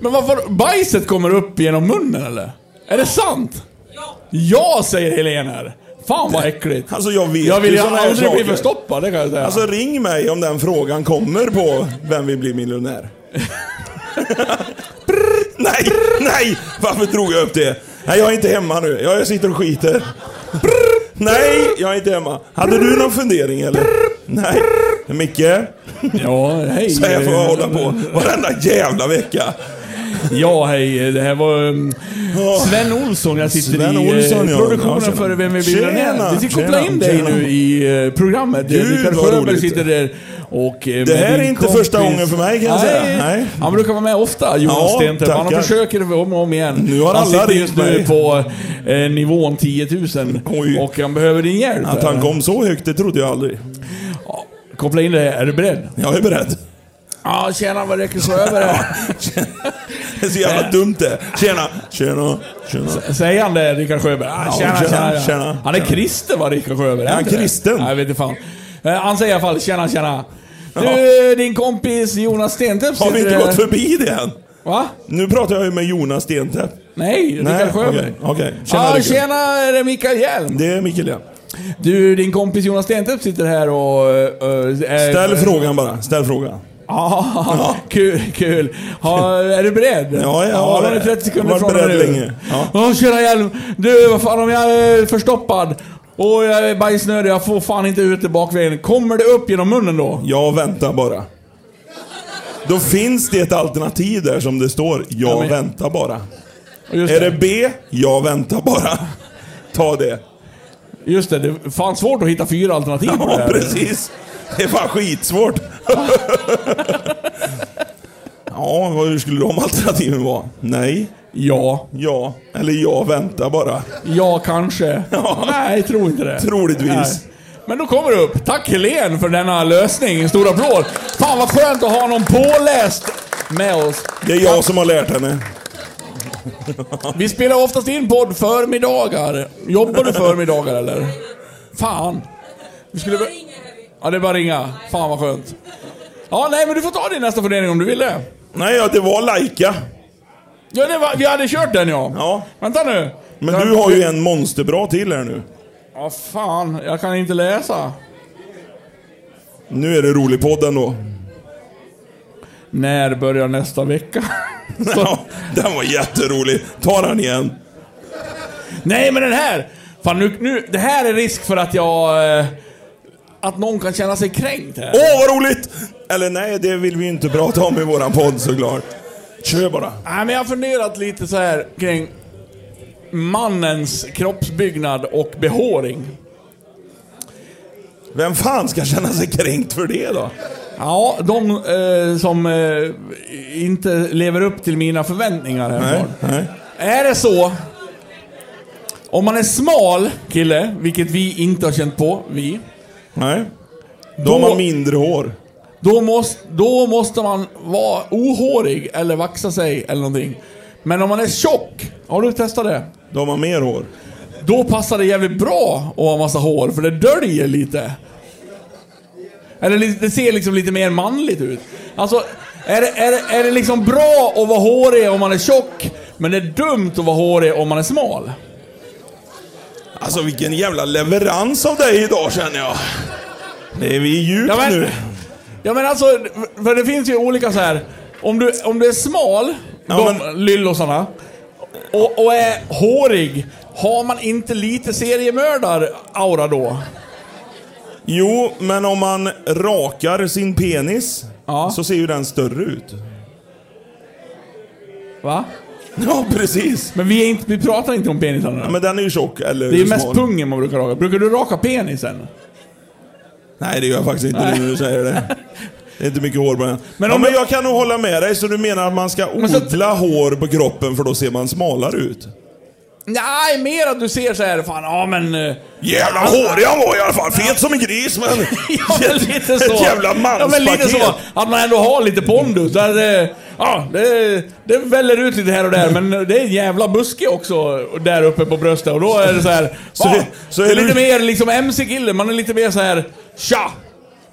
Speaker 1: Men varför... Bajset kommer upp genom munnen eller? Är det sant?
Speaker 5: Ja.
Speaker 1: Ja, säger Helene här. Fan vad äckligt.
Speaker 2: Alltså jag vet
Speaker 1: Jag vill
Speaker 2: ju
Speaker 1: ju
Speaker 2: såna här
Speaker 1: aldrig bli
Speaker 2: saker.
Speaker 1: förstoppad, det kan jag säga.
Speaker 2: Alltså ring mig om den frågan kommer på Vem vill bli miljonär? Brr, nej, nej! Varför drog jag upp det? Nej, jag är inte hemma nu. Jag sitter och skiter. Brr, nej, jag är inte hemma. Hade du någon fundering eller? Nej. Micke?
Speaker 1: ja, hej.
Speaker 2: Så här får jag hålla på varenda jävla vecka.
Speaker 1: Ja, hej. Det här var um,
Speaker 2: Ja.
Speaker 1: Sven Olsson. Jag sitter
Speaker 2: Sven
Speaker 1: i
Speaker 2: Olsson,
Speaker 1: eh,
Speaker 2: ja. Ja,
Speaker 1: produktionen
Speaker 2: tjena.
Speaker 1: för Vem är
Speaker 2: Tjena,
Speaker 1: miljonär? Vi ska koppla
Speaker 2: tjena,
Speaker 1: in dig
Speaker 2: tjena.
Speaker 1: nu i eh, programmet.
Speaker 2: Gud,
Speaker 1: Rickard
Speaker 2: vad
Speaker 1: Sjöberg
Speaker 2: roligt.
Speaker 1: sitter där och... eh,
Speaker 2: Det
Speaker 1: med
Speaker 2: här är
Speaker 1: din
Speaker 2: inte första gången för mig, kan jag säga. Nej.
Speaker 1: Han brukar vara med ofta, Jonas
Speaker 2: Ja,
Speaker 1: Stentorp. Han
Speaker 2: tackar.
Speaker 1: försöker om och om igen.
Speaker 2: Nu har
Speaker 1: han
Speaker 2: alla
Speaker 1: sitter just
Speaker 2: ringt
Speaker 1: nu
Speaker 2: mig.
Speaker 1: på eh, nivån 10 000
Speaker 2: Oj.
Speaker 1: och han behöver din hjälp.
Speaker 2: Att han kom så högt, det trodde jag aldrig.
Speaker 1: Ja, Koppla in dig. Är du beredd?
Speaker 2: Jag är beredd.
Speaker 1: Ja, tjena vad Rickard Sjöberg här.
Speaker 2: Det är så jävla dumt det. Tjena, tjena, tjena.
Speaker 1: Säger han det, Rickard Sjöberg? Ah,
Speaker 2: Ja,
Speaker 1: tjena, tjena,
Speaker 2: tjena,
Speaker 1: tjena,
Speaker 2: tjena.
Speaker 1: Han är kristen va, Rickard Sjöberg?
Speaker 2: Är han
Speaker 1: inte det?
Speaker 2: kristen?
Speaker 1: Nej, jag vet inte fan. Eh, Han säger i alla fall tjena, tjena. Du, din kompis Jonas Stentorp
Speaker 2: Har vi inte
Speaker 1: sitter-
Speaker 2: gått förbi det än?
Speaker 1: Va?
Speaker 2: Nu pratar jag ju med Jonas Stentepp.
Speaker 1: Nej, Rickard Sjöberg.
Speaker 2: okej. okej. Tjena,
Speaker 1: Tjena, ah,
Speaker 2: Rickard.
Speaker 1: tjena, är det Mikael Hjelm?
Speaker 2: Det är Mikael ja.
Speaker 1: Du, din kompis Jonas Stentorp sitter här och... eh, eh,
Speaker 2: Ställ frågan bara. Ställ frågan.
Speaker 1: Ja, kul, kul. Ha, är du beredd?
Speaker 2: Ja, jag har
Speaker 1: då är
Speaker 2: det.
Speaker 1: det 30 sekunder
Speaker 2: Varit
Speaker 1: från och
Speaker 2: beredd
Speaker 1: nu.
Speaker 2: länge.
Speaker 1: Ja.
Speaker 2: Ja.
Speaker 1: tjena Hjelm. Du, vad fan om jag är förstoppad och jag är bajsnödig, jag får fan inte ut det bakvägen. Kommer det upp genom munnen då?
Speaker 2: Jag väntar bara. Då finns det ett alternativ där som det står. Jag
Speaker 1: Ja, men-
Speaker 2: väntar bara.
Speaker 1: Och Just
Speaker 2: Är det B? Jag väntar bara. Ta det.
Speaker 1: Just det, det är fan svårt att hitta fyra alternativ på det
Speaker 2: Ja,
Speaker 1: här.
Speaker 2: precis. Det är fan skitsvårt. Ja, vad- hur skulle de alternativen vara? Nej,
Speaker 1: Ja.
Speaker 2: ja, eller jag väntar bara.
Speaker 1: Ja, kanske.
Speaker 2: Ja.
Speaker 1: Nej, tror inte det.
Speaker 2: Troligtvis.
Speaker 1: Nej. Men då kommer det upp. Tack Helen för denna lösning. En stor applåd. Fan vad skönt att ha någon påläst med oss.
Speaker 2: Det är jag som har lärt henne.
Speaker 1: Vi spelar oftast in podd förmiddagar. Jobbar du förmiddagar eller? Fan. Vi skulle...
Speaker 5: Jag
Speaker 1: be-
Speaker 5: ringer Harry.
Speaker 1: Ja, det är bara att ringa. Fan vad skönt. Ja, nej men du får ta din nästa fundering om du vill det.
Speaker 2: Nej, ja, det var Laika.
Speaker 1: Ja, det var... vi hade kört den ja.
Speaker 2: Ja.
Speaker 1: Vänta nu.
Speaker 2: Men
Speaker 1: Jag-
Speaker 2: du har ju en monsterbra till här nu.
Speaker 1: Ja, fan. Jag kan inte läsa.
Speaker 2: Nu är det rolig podd ändå.
Speaker 1: När börjar nästa vecka? Så...
Speaker 2: Ja, den var jätterolig. Ta den igen.
Speaker 1: Nej, men den här! Fan, nu, nu... Det här är risk för att jag... Eh... Att någon kan känna sig kränkt här.
Speaker 2: Åh, vad roligt! Eller nej, det vill vi ju inte prata om i våran podd såklart. Kör bara.
Speaker 1: Nej, men jag har funderat lite så här kring mannens kroppsbyggnad och behåring.
Speaker 2: Vem fan ska känna sig kränkt för det då?
Speaker 1: Ja, de eh, som eh, inte lever upp till mina förväntningar
Speaker 2: Nej,
Speaker 1: här.
Speaker 2: nej.
Speaker 1: Är det så? Om man är smal kille, vilket vi inte har känt på, vi.
Speaker 2: Nej. Då
Speaker 1: Då-
Speaker 2: har man mindre hår.
Speaker 1: Då måste, då måste man vara ohårig eller vaxa sig eller någonting. Men om man är tjock, har du testat det?
Speaker 2: Då har man mer hår.
Speaker 1: Då passar det jävligt bra att ha massa hår, för det döljer lite. Eller li- det ser liksom lite mer manligt ut. Alltså, är det, är det, är det liksom bra att vara hårig om man är tjock, men det är dumt att vara hårig om man är smal?
Speaker 2: Alltså vilken jävla leverans av dig idag känner jag. Det är vi djupt
Speaker 1: Ja, men-
Speaker 2: nu.
Speaker 1: Ja men alltså, för det finns ju olika så här. Om du, om du är smal,
Speaker 2: Ja,
Speaker 1: de
Speaker 2: men-
Speaker 1: lyllosarna, och, och är hårig, har man inte lite seriemördar-aura då?
Speaker 2: Jo, men om man rakar sin penis
Speaker 1: Ja.
Speaker 2: så ser ju den större ut.
Speaker 1: Va?
Speaker 2: Ja, precis.
Speaker 1: Men vi, är inte, vi pratar inte om penisarna.
Speaker 2: Ja, men den är ju tjock. Eller
Speaker 1: det är ju
Speaker 2: smal.
Speaker 1: mest pungen man brukar raka. Brukar du raka penisen?
Speaker 2: Nej, det gör jag faktiskt inte nu när du säger det. Det är inte mycket hår på den. Men,
Speaker 1: Men
Speaker 2: ja,
Speaker 1: om
Speaker 2: men
Speaker 1: du-
Speaker 2: jag kan nog hålla med dig, så du menar att man ska
Speaker 1: Men så-
Speaker 2: odla hår på kroppen för då ser man smalare ut?
Speaker 1: Nej, mer att du ser så här, fan, ja men... eh,
Speaker 2: Jävla hårig han var i alla fall! Fet som en gris, men...
Speaker 1: Ja, men lite så.
Speaker 2: Ett jävla
Speaker 1: Ja, men lite
Speaker 2: manspaket!
Speaker 1: så. Att man ändå har lite pondus. Där, eh, ja, det, det väller ut lite här och där, men det är en jävla buske också där uppe på bröstet. Och då är det så här.
Speaker 2: Så
Speaker 1: ja,
Speaker 2: det- så är
Speaker 1: det är
Speaker 2: du-
Speaker 1: lite mer liksom MC-kille. Man är lite mer så här. Tja!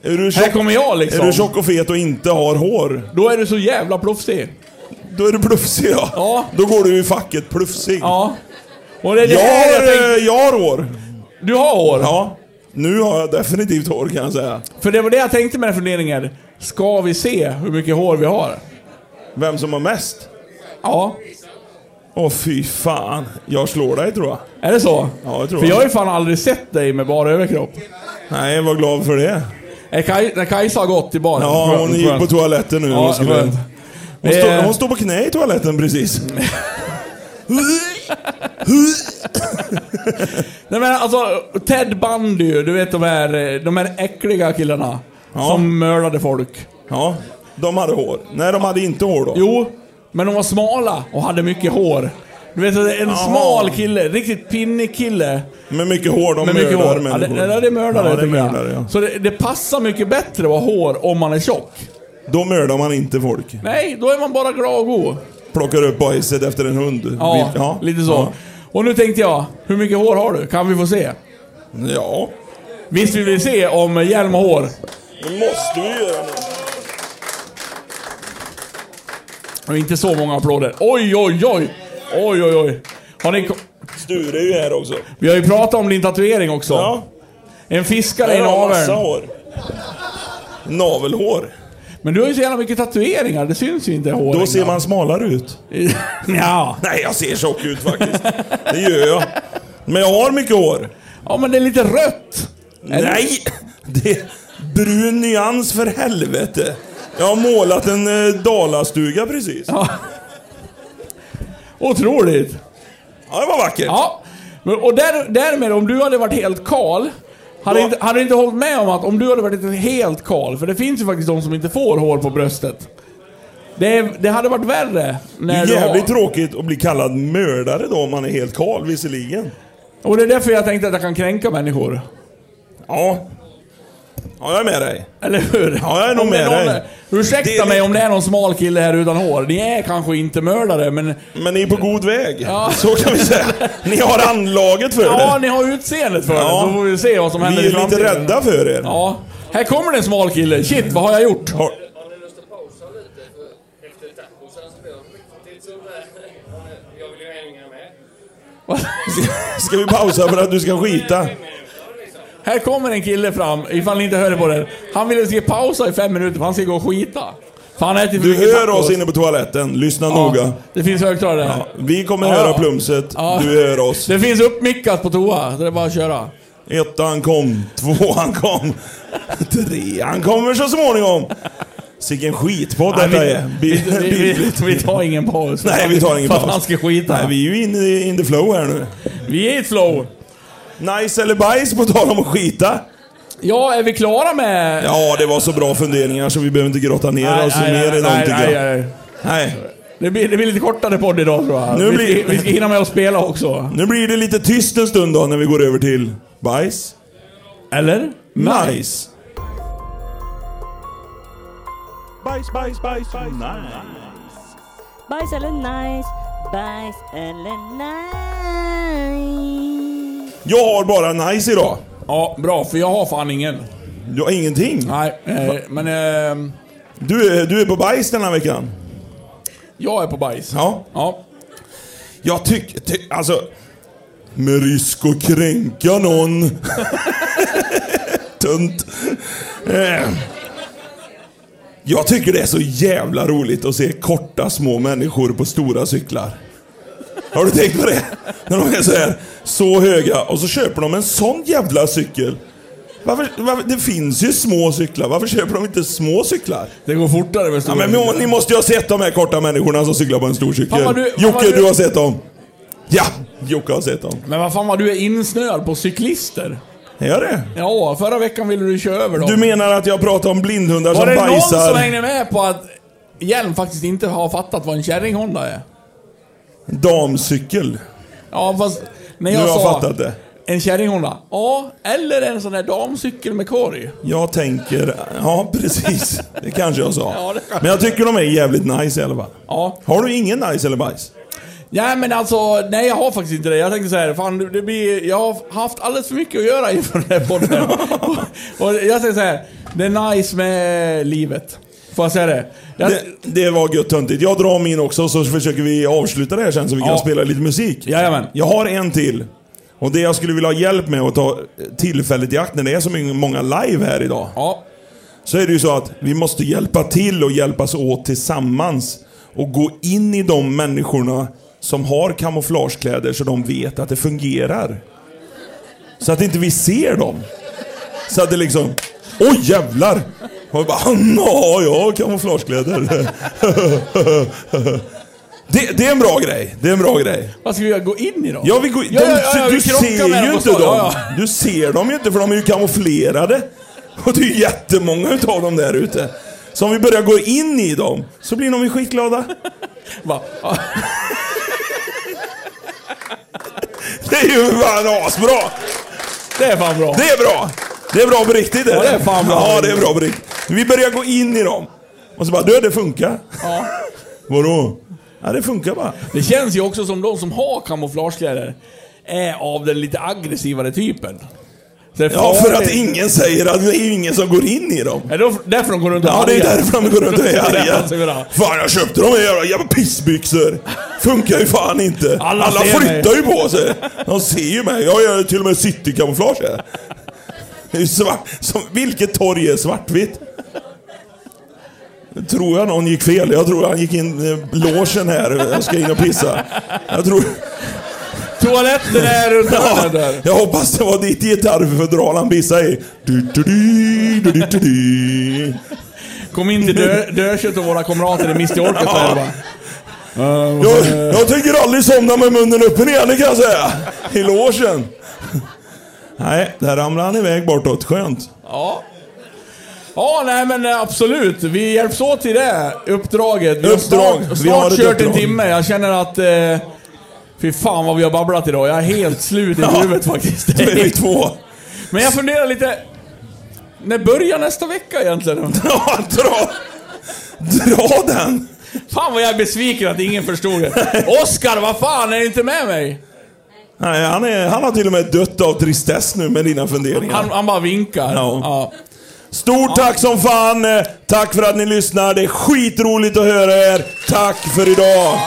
Speaker 2: Är du
Speaker 1: Här
Speaker 2: tjock,
Speaker 1: kommer jag
Speaker 2: är
Speaker 1: liksom.
Speaker 2: du tjock och fet och inte har hår,
Speaker 1: Då är du så jävla proffsig.
Speaker 2: då är du plufsig ja.
Speaker 1: Ja.
Speaker 2: Då går du i facket plufsig.
Speaker 1: Ja. Och det är det
Speaker 2: Jag
Speaker 1: här jag
Speaker 2: har,
Speaker 1: tänkte,
Speaker 2: eh, jag har hår.
Speaker 1: Du har hår?
Speaker 2: Ja. Nu har jag definitivt hår kan jag säga.
Speaker 1: För det var det jag tänkte med den här funderingen. Ska vi se hur mycket hår vi har?
Speaker 2: Vem som har mest?
Speaker 1: Ja.
Speaker 2: Åh fy fan. Jag slår dig tror jag.
Speaker 1: Är det så?
Speaker 2: Ja, jag tror
Speaker 1: För
Speaker 2: det.
Speaker 1: jag har ju fan aldrig sett dig med bara överkropp.
Speaker 2: Nej, var glad för det.
Speaker 1: Är Kaj, när Kajsa har gått i baren.
Speaker 2: Ja, hon gick på toaletten nu.
Speaker 1: Ja,
Speaker 2: hon, skulle,
Speaker 1: skönt.
Speaker 2: hon, stå,
Speaker 1: Eh.
Speaker 2: hon står på knä i toaletten precis.
Speaker 1: Nej men alltså, Ted Bundy, du vet de här, eh, de här äckliga killarna.
Speaker 2: Ja.
Speaker 1: Som mördade folk.
Speaker 2: Ja, de hade hår. Nej, de hade inte hår då.
Speaker 1: Jo, men de var smala och hade mycket hår. Du vet, en smal kille, riktigt pinnig kille.
Speaker 2: Med mycket hår, de
Speaker 1: Med mycket
Speaker 2: mördar
Speaker 1: hår. Ja, det,
Speaker 2: människor.
Speaker 1: det, det är mördare,
Speaker 2: Ja, det är
Speaker 1: tycker jag.
Speaker 2: mördare, ja.
Speaker 1: Så det, det passar mycket bättre att ha hår om man är tjock.
Speaker 2: Då mördar man inte folk.
Speaker 1: Nej, då är man bara glad och god.
Speaker 2: Plockar upp bajset efter en hund.
Speaker 1: Ja,
Speaker 2: Vi- ja.
Speaker 1: lite så.
Speaker 2: Ja.
Speaker 1: Och nu tänkte jag, hur mycket hår har du? Kan vi få se?
Speaker 2: ja.
Speaker 1: Visst vill vi se om hjälm och hår?
Speaker 2: Det måste vi göra nu.
Speaker 1: Och inte så många applåder. Oj, oj, oj! Oj, oj, oj. Har ni, ko-
Speaker 2: Sture är ju här också.
Speaker 1: vi har ju pratat om din tatuering också.
Speaker 2: Ja.
Speaker 1: En fiskare i
Speaker 2: Här har han massa
Speaker 1: naveln.
Speaker 2: hår. Navelhår.
Speaker 1: Men du har ju så jävla mycket tatueringar, det syns ju inte håren.
Speaker 2: Då ser man smalare ut.
Speaker 1: ja.
Speaker 2: Nej, jag ser tjock ut faktiskt. Det gör jag. Men jag har mycket hår.
Speaker 1: ja, men det är lite rött.
Speaker 2: Nej! Det är brun nyans för helvete. Jag har målat en eh, dalastuga precis. Ja,
Speaker 1: Otroligt.
Speaker 2: det var vackert.
Speaker 1: Ja. Men, och där, därmed, om du hade varit helt kal, hade,
Speaker 2: Ja.
Speaker 1: inte, hade du inte hållit med om att om du hade varit helt kal, för det finns ju faktiskt de som inte får hår på bröstet. Det, det hade varit värre.
Speaker 2: Det
Speaker 1: När
Speaker 2: är
Speaker 1: du har-
Speaker 2: jävligt tråkigt att bli kallad mördare då om man är helt kal visserligen.
Speaker 1: Och det är därför jag tänkte att jag kan kränka människor.
Speaker 2: Ja. Ja, jag är med dig.
Speaker 1: Eller hur?
Speaker 2: Ja, jag är nog
Speaker 1: Om det
Speaker 2: med
Speaker 1: någon,
Speaker 2: dig.
Speaker 1: Ursäkta
Speaker 2: Det-
Speaker 1: mig om det är någon smal kille här utan hår. Ni är kanske inte mördare, men...
Speaker 2: Men ni är på
Speaker 1: Mm.
Speaker 2: god väg. Så kan vi säga. Ni har anlaget för
Speaker 1: Ja,
Speaker 2: det.
Speaker 1: ni har utseendet för
Speaker 2: Ja.
Speaker 1: det, så får vi se vad som händer
Speaker 2: Vi
Speaker 1: i
Speaker 2: är lite
Speaker 1: framtiden.
Speaker 2: rädda för er.
Speaker 1: Ja. Här kommer det en smal kille. Shit, vad har jag gjort?
Speaker 2: Har,
Speaker 5: Har ni lust att pausa lite? För efter tacosen så blir det mycket till som det är. Jag vill ju hänga med.
Speaker 2: ska vi pausa för att du ska skita?
Speaker 1: Här kommer en kille fram, ifall ni inte hörde på det. Han ville se pausa i fem minuter, för han ska gå och skita. För han äter för
Speaker 2: Du
Speaker 1: mycket
Speaker 2: hör
Speaker 1: tacos.
Speaker 2: oss inne på toaletten. Lyssna
Speaker 1: Ja,
Speaker 2: noga.
Speaker 1: Det finns högtalare där.
Speaker 2: Ja, vi kommer
Speaker 1: Ja.
Speaker 2: höra plumset.
Speaker 1: Ja.
Speaker 2: Du hör oss.
Speaker 1: Det finns uppmickat på toa, så det är bara att köra.
Speaker 2: Ettan kom, tvåan kom, trean kommer så småningom. Sicken skitpodd
Speaker 1: Nej,
Speaker 2: detta
Speaker 1: vi-
Speaker 2: är.
Speaker 1: vi,
Speaker 2: Bi-
Speaker 1: vi, vi,
Speaker 2: bildligt.
Speaker 1: vi tar ingen paus.
Speaker 2: Nej, vi tar ingen
Speaker 1: För att
Speaker 2: paus.
Speaker 1: han ska skita.
Speaker 2: Nej, vi är ju inne i- in the flow här nu.
Speaker 1: Vi är i ett flow.
Speaker 2: Nice eller bajs på tal om att skita.
Speaker 1: Ja, är vi klara med...
Speaker 2: Ja, det var så bra funderingar så vi behöver inte grotta ner oss mer i dem
Speaker 1: nej,
Speaker 2: tycker
Speaker 1: nej,
Speaker 2: jag.
Speaker 1: nej.
Speaker 2: Nej.
Speaker 1: Det blir, det blir lite kortare podd idag tror jag.
Speaker 2: Nu
Speaker 1: vi,
Speaker 2: blir-
Speaker 1: ska, vi ska hinna med att spela också.
Speaker 2: Nu blir det lite tyst en stund då när vi går över till bajs.
Speaker 1: Eller?
Speaker 2: Nice. Bajs, bajs, bajs. Nej.
Speaker 3: Bajs eller nice? Bajs eller nice?
Speaker 2: Jag har bara nice idag.
Speaker 1: Ja, bra. För jag har fan ingen.
Speaker 2: Du har ingenting.
Speaker 1: Nej, eh, men eh,
Speaker 2: Du är, du är på bajs den här veckan.
Speaker 1: jag är på bajs.
Speaker 2: Ja.
Speaker 1: Ja.
Speaker 2: Jag tycker... Ty, alltså... Med risk att kränka någon. Tunt. Eh. Jag tycker det är så jävla roligt att se korta små människor på stora cyklar. Har du tänkt på det? När de är så här, så höga och så köper de en sån jävla cykel. Varför, varför, det finns ju små cyklar. Varför köper de inte små cyklar?
Speaker 1: Det går fortare med
Speaker 2: Ja,
Speaker 1: stora
Speaker 2: men
Speaker 1: bilar.
Speaker 2: ni måste ju ha sett de här korta människorna som cyklar på en stor cykel.
Speaker 1: Pappa, du-
Speaker 2: Jocke,
Speaker 1: pappa, du-
Speaker 2: du... har sett dem. Ja, Jocke har sett dem.
Speaker 1: Men vad fan vad du är insnöad på cyklister.
Speaker 2: Är det?
Speaker 1: Ja, förra veckan ville du köra över dem.
Speaker 2: Du menar att jag pratar om blindhundar
Speaker 1: Var
Speaker 2: som
Speaker 1: det
Speaker 2: bajsar?
Speaker 1: någon som hängde med på att Hjelm faktiskt inte har fattat vad en kärringhonda är?
Speaker 2: Damcykel.
Speaker 1: Ja, fast när
Speaker 2: Nu
Speaker 1: jag
Speaker 2: har jag
Speaker 1: sa
Speaker 2: fattat det.
Speaker 1: en kärringhonda. Ja, eller en sån där damcykel med korg.
Speaker 2: Jag tänker... Ja, precis. Det kanske jag sa.
Speaker 1: Ja, det kanske-
Speaker 2: Men jag tycker de är jävligt nice i alla fall.
Speaker 1: Ja.
Speaker 2: Har du ingen nice eller bajs?
Speaker 1: Nej men alltså, nej jag har faktiskt inte det. Jag tänkte så här, fan det blir, jag har haft alldeles för mycket att göra inför den här podden. och, och jag säger så här, det är nice med livet. Får jag säga det? Jag,
Speaker 2: Det, det var gött töntigt. Jag drar min också så försöker vi avsluta det här sen så vi
Speaker 1: Ja.
Speaker 2: kan spela lite musik.
Speaker 1: Jajamän.
Speaker 2: Jag har en till. Och det jag skulle vilja ha hjälp med att ta tillfället i akt när det är så många live här idag.
Speaker 1: Ja,
Speaker 2: Så är det ju så att vi måste hjälpa till och hjälpas åt tillsammans. Och gå in i de människorna som har kamouflagekläder så de vet att det fungerar. Så att inte vi ser dem. Så att det liksom... Åh jävlar! Och vi bara, ja, jag har kamouflagekläder. det, det är en bra grej. Det är en bra grej.
Speaker 1: vad ska vi göra? Gå in i dem?
Speaker 2: Ja, vi går,
Speaker 1: Ja,
Speaker 2: de,
Speaker 1: ja, ja,
Speaker 2: du
Speaker 1: vi krockar
Speaker 2: ser
Speaker 1: med dem
Speaker 2: ju
Speaker 1: på
Speaker 2: inte
Speaker 1: stan.
Speaker 2: dem.
Speaker 1: Ja, ja.
Speaker 2: Du ser dem ju inte för de är ju kamouflerade. Och det är ju jättemånga utav dem där ute. Så om vi börjar gå in i dem så blir de ju skitglada.
Speaker 1: Va? Ja.
Speaker 2: Det är ju fan asbra!
Speaker 1: Det är fan bra.
Speaker 2: Det är bra! Det är bra på riktigt
Speaker 1: Ja, det är fan bra.
Speaker 2: Ja, det är bra på riktigt. Vi börjar gå in i dem. Och så bara, du det funkar.
Speaker 1: Ja.
Speaker 2: Vadå? Ja, det funkar bara.
Speaker 1: Det känns ju också som de som har kamouflagekläder är av den lite aggressivare typen. Så det är
Speaker 2: Ja, för att
Speaker 1: farligt.
Speaker 2: ingen säger att det är ju ingen som går in i dem.
Speaker 1: Är det därför de går runt och
Speaker 2: Ja, det är
Speaker 1: arga?
Speaker 2: därför de går runt och är
Speaker 1: Det är
Speaker 2: arga.
Speaker 1: alltså bra.
Speaker 2: Fan, jag köpte de här jävla, jävla pissbyxor. Funkar ju fan inte.
Speaker 1: Alla
Speaker 2: Alla,
Speaker 1: ser mig.
Speaker 2: flyttar ju på sig. De ser ju mig. Jag gör till och med citykamouflage här. Det är ju svart. Som, vilket torg är svartvitt? Jag tror jag någon gick fel. Jag tror han gick in i logen här. Jag ska in och pissa. Jag tror...
Speaker 1: Toaletten är runt
Speaker 2: Ja,
Speaker 1: hörnet där.
Speaker 2: jag hoppas det var ditt gitarrfodral han pissade i. Du, du, du, du, du, du, du.
Speaker 1: Kom in till Dö- Dökött och våra kamrater i Misty Orket
Speaker 2: Ja.
Speaker 1: där och bara...
Speaker 2: Jag, jag tänker aldrig somna med munnen uppe ner, det kan jag säga. I logen. Nej, där ramlade han iväg bortåt. Skönt.
Speaker 1: Ja. Ja, nej men eh, absolut. Vi hjälps åt i det uppdraget. Vi har
Speaker 2: Uppdrag.
Speaker 1: snart,
Speaker 2: Vi har
Speaker 1: snart
Speaker 2: ett
Speaker 1: kört en
Speaker 2: uppdrag.
Speaker 1: timme. Jag känner att... Eh, fy fan vad vi har babblat idag. Jag är helt slut i
Speaker 2: Ja.
Speaker 1: huvudet faktiskt.
Speaker 2: Då är vi två.
Speaker 1: Men jag funderar lite... När börjar nästa vecka egentligen?
Speaker 2: Ja, dra, dra den.
Speaker 1: Fan vad jag är besviken att ingen förstod det. Oskar, vad fan, är du inte med mig?
Speaker 2: Nej, han, är, han har till och med dött av tristess nu med dina funderingar.
Speaker 1: Han, han bara vinkar.
Speaker 2: Ja.
Speaker 1: Ja.
Speaker 2: Stort tack som fan! Eh, Tack för att ni lyssnar. Det är skitroligt att höra er. Tack för idag!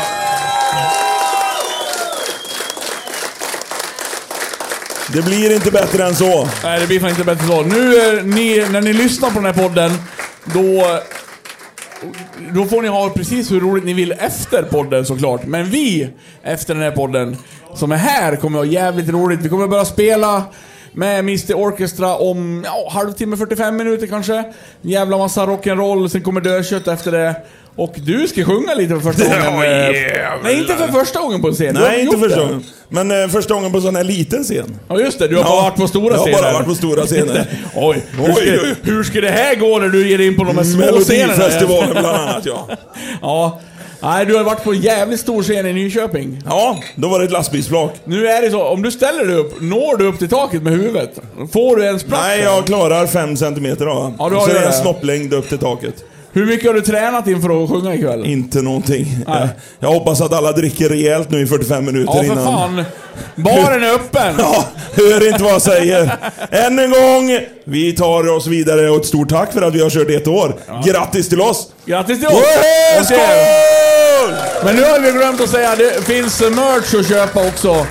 Speaker 2: Det blir inte bättre än så.
Speaker 1: Nej, det blir fan inte bättre så. Nu, eh, ni, när ni lyssnar på den här podden, då... Då får ni ha precis hur roligt ni vill efter podden såklart. Men vi, efter den här podden, som är här, kommer ha jävligt roligt. Vi kommer börja spela med Mr Orchestra om ja, halvtimme, 45 minuter kanske. En jävla massa rock'n'roll, sen kommer Dödkött efter det. Och du ska sjunga lite för första gången.
Speaker 2: Ja,
Speaker 1: eh,
Speaker 2: jävlar.
Speaker 1: Nej, inte för första gången på en scen. Du har
Speaker 2: Nej, inte
Speaker 1: gjort det.
Speaker 2: första gången. Men eh, första gången på en sån här liten scen.
Speaker 1: Ja just det, du har bara varit på stora
Speaker 2: jag
Speaker 1: scener.
Speaker 2: Jag har bara varit på stora scener.
Speaker 1: Oj, hur
Speaker 2: Oj,
Speaker 1: ska,
Speaker 2: oj, oj.
Speaker 1: hur ska det här gå när du ger dig in på de här små scenerna?
Speaker 2: Melodifestivalen bland annat, ja.
Speaker 1: Ja. Nej, du har varit på en jävligt stor scen i Nyköping.
Speaker 2: Ja, då var det ett lastbilsflak.
Speaker 1: Nu är det så, om du ställer dig upp, når du upp till taket med huvudet? Får du ens plats?
Speaker 2: Nej, jag klarar fem centimeter av
Speaker 1: Ja, du
Speaker 2: ja,
Speaker 1: har
Speaker 2: Så
Speaker 1: det.
Speaker 2: är det en snopplängd upp till taket.
Speaker 1: Hur mycket har du tränat inför att sjunga ikväll?
Speaker 2: Inte någonting.
Speaker 1: Nej.
Speaker 2: Jag, jag hoppas att alla dricker rejält nu i 45 minuter
Speaker 1: ja, för
Speaker 2: innan.
Speaker 1: fan. Baren är öppen.
Speaker 2: Ja, hör inte vad jag säger. Än en gång, vi tar oss vidare och ett stort tack för att vi har kört i ett år. Grattis till oss!
Speaker 1: Grattis till oss!
Speaker 2: Woho!
Speaker 1: Och
Speaker 2: Skål!
Speaker 1: det- Men nu har vi glömt att säga, det finns eh, merch att köpa också.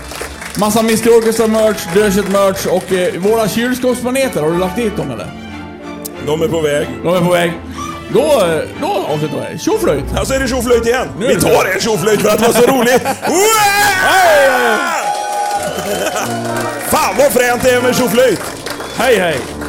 Speaker 1: Massa Mr Orchestra merch, Dödkött merch och eh, våra kylskåpsmaneter, har du lagt dit dem eller?
Speaker 2: De är på väg.
Speaker 1: De är på väg. Då, eh, då avslutar vi. Tjoflöjt!
Speaker 2: Här så Alltså, är det tjoflöjt igen.
Speaker 1: är
Speaker 2: vi
Speaker 1: det
Speaker 2: tar en tjoflöjt för att det var så roligt. Wow! Fan vad fränt det är med tjoflöjt!
Speaker 1: Hej hej!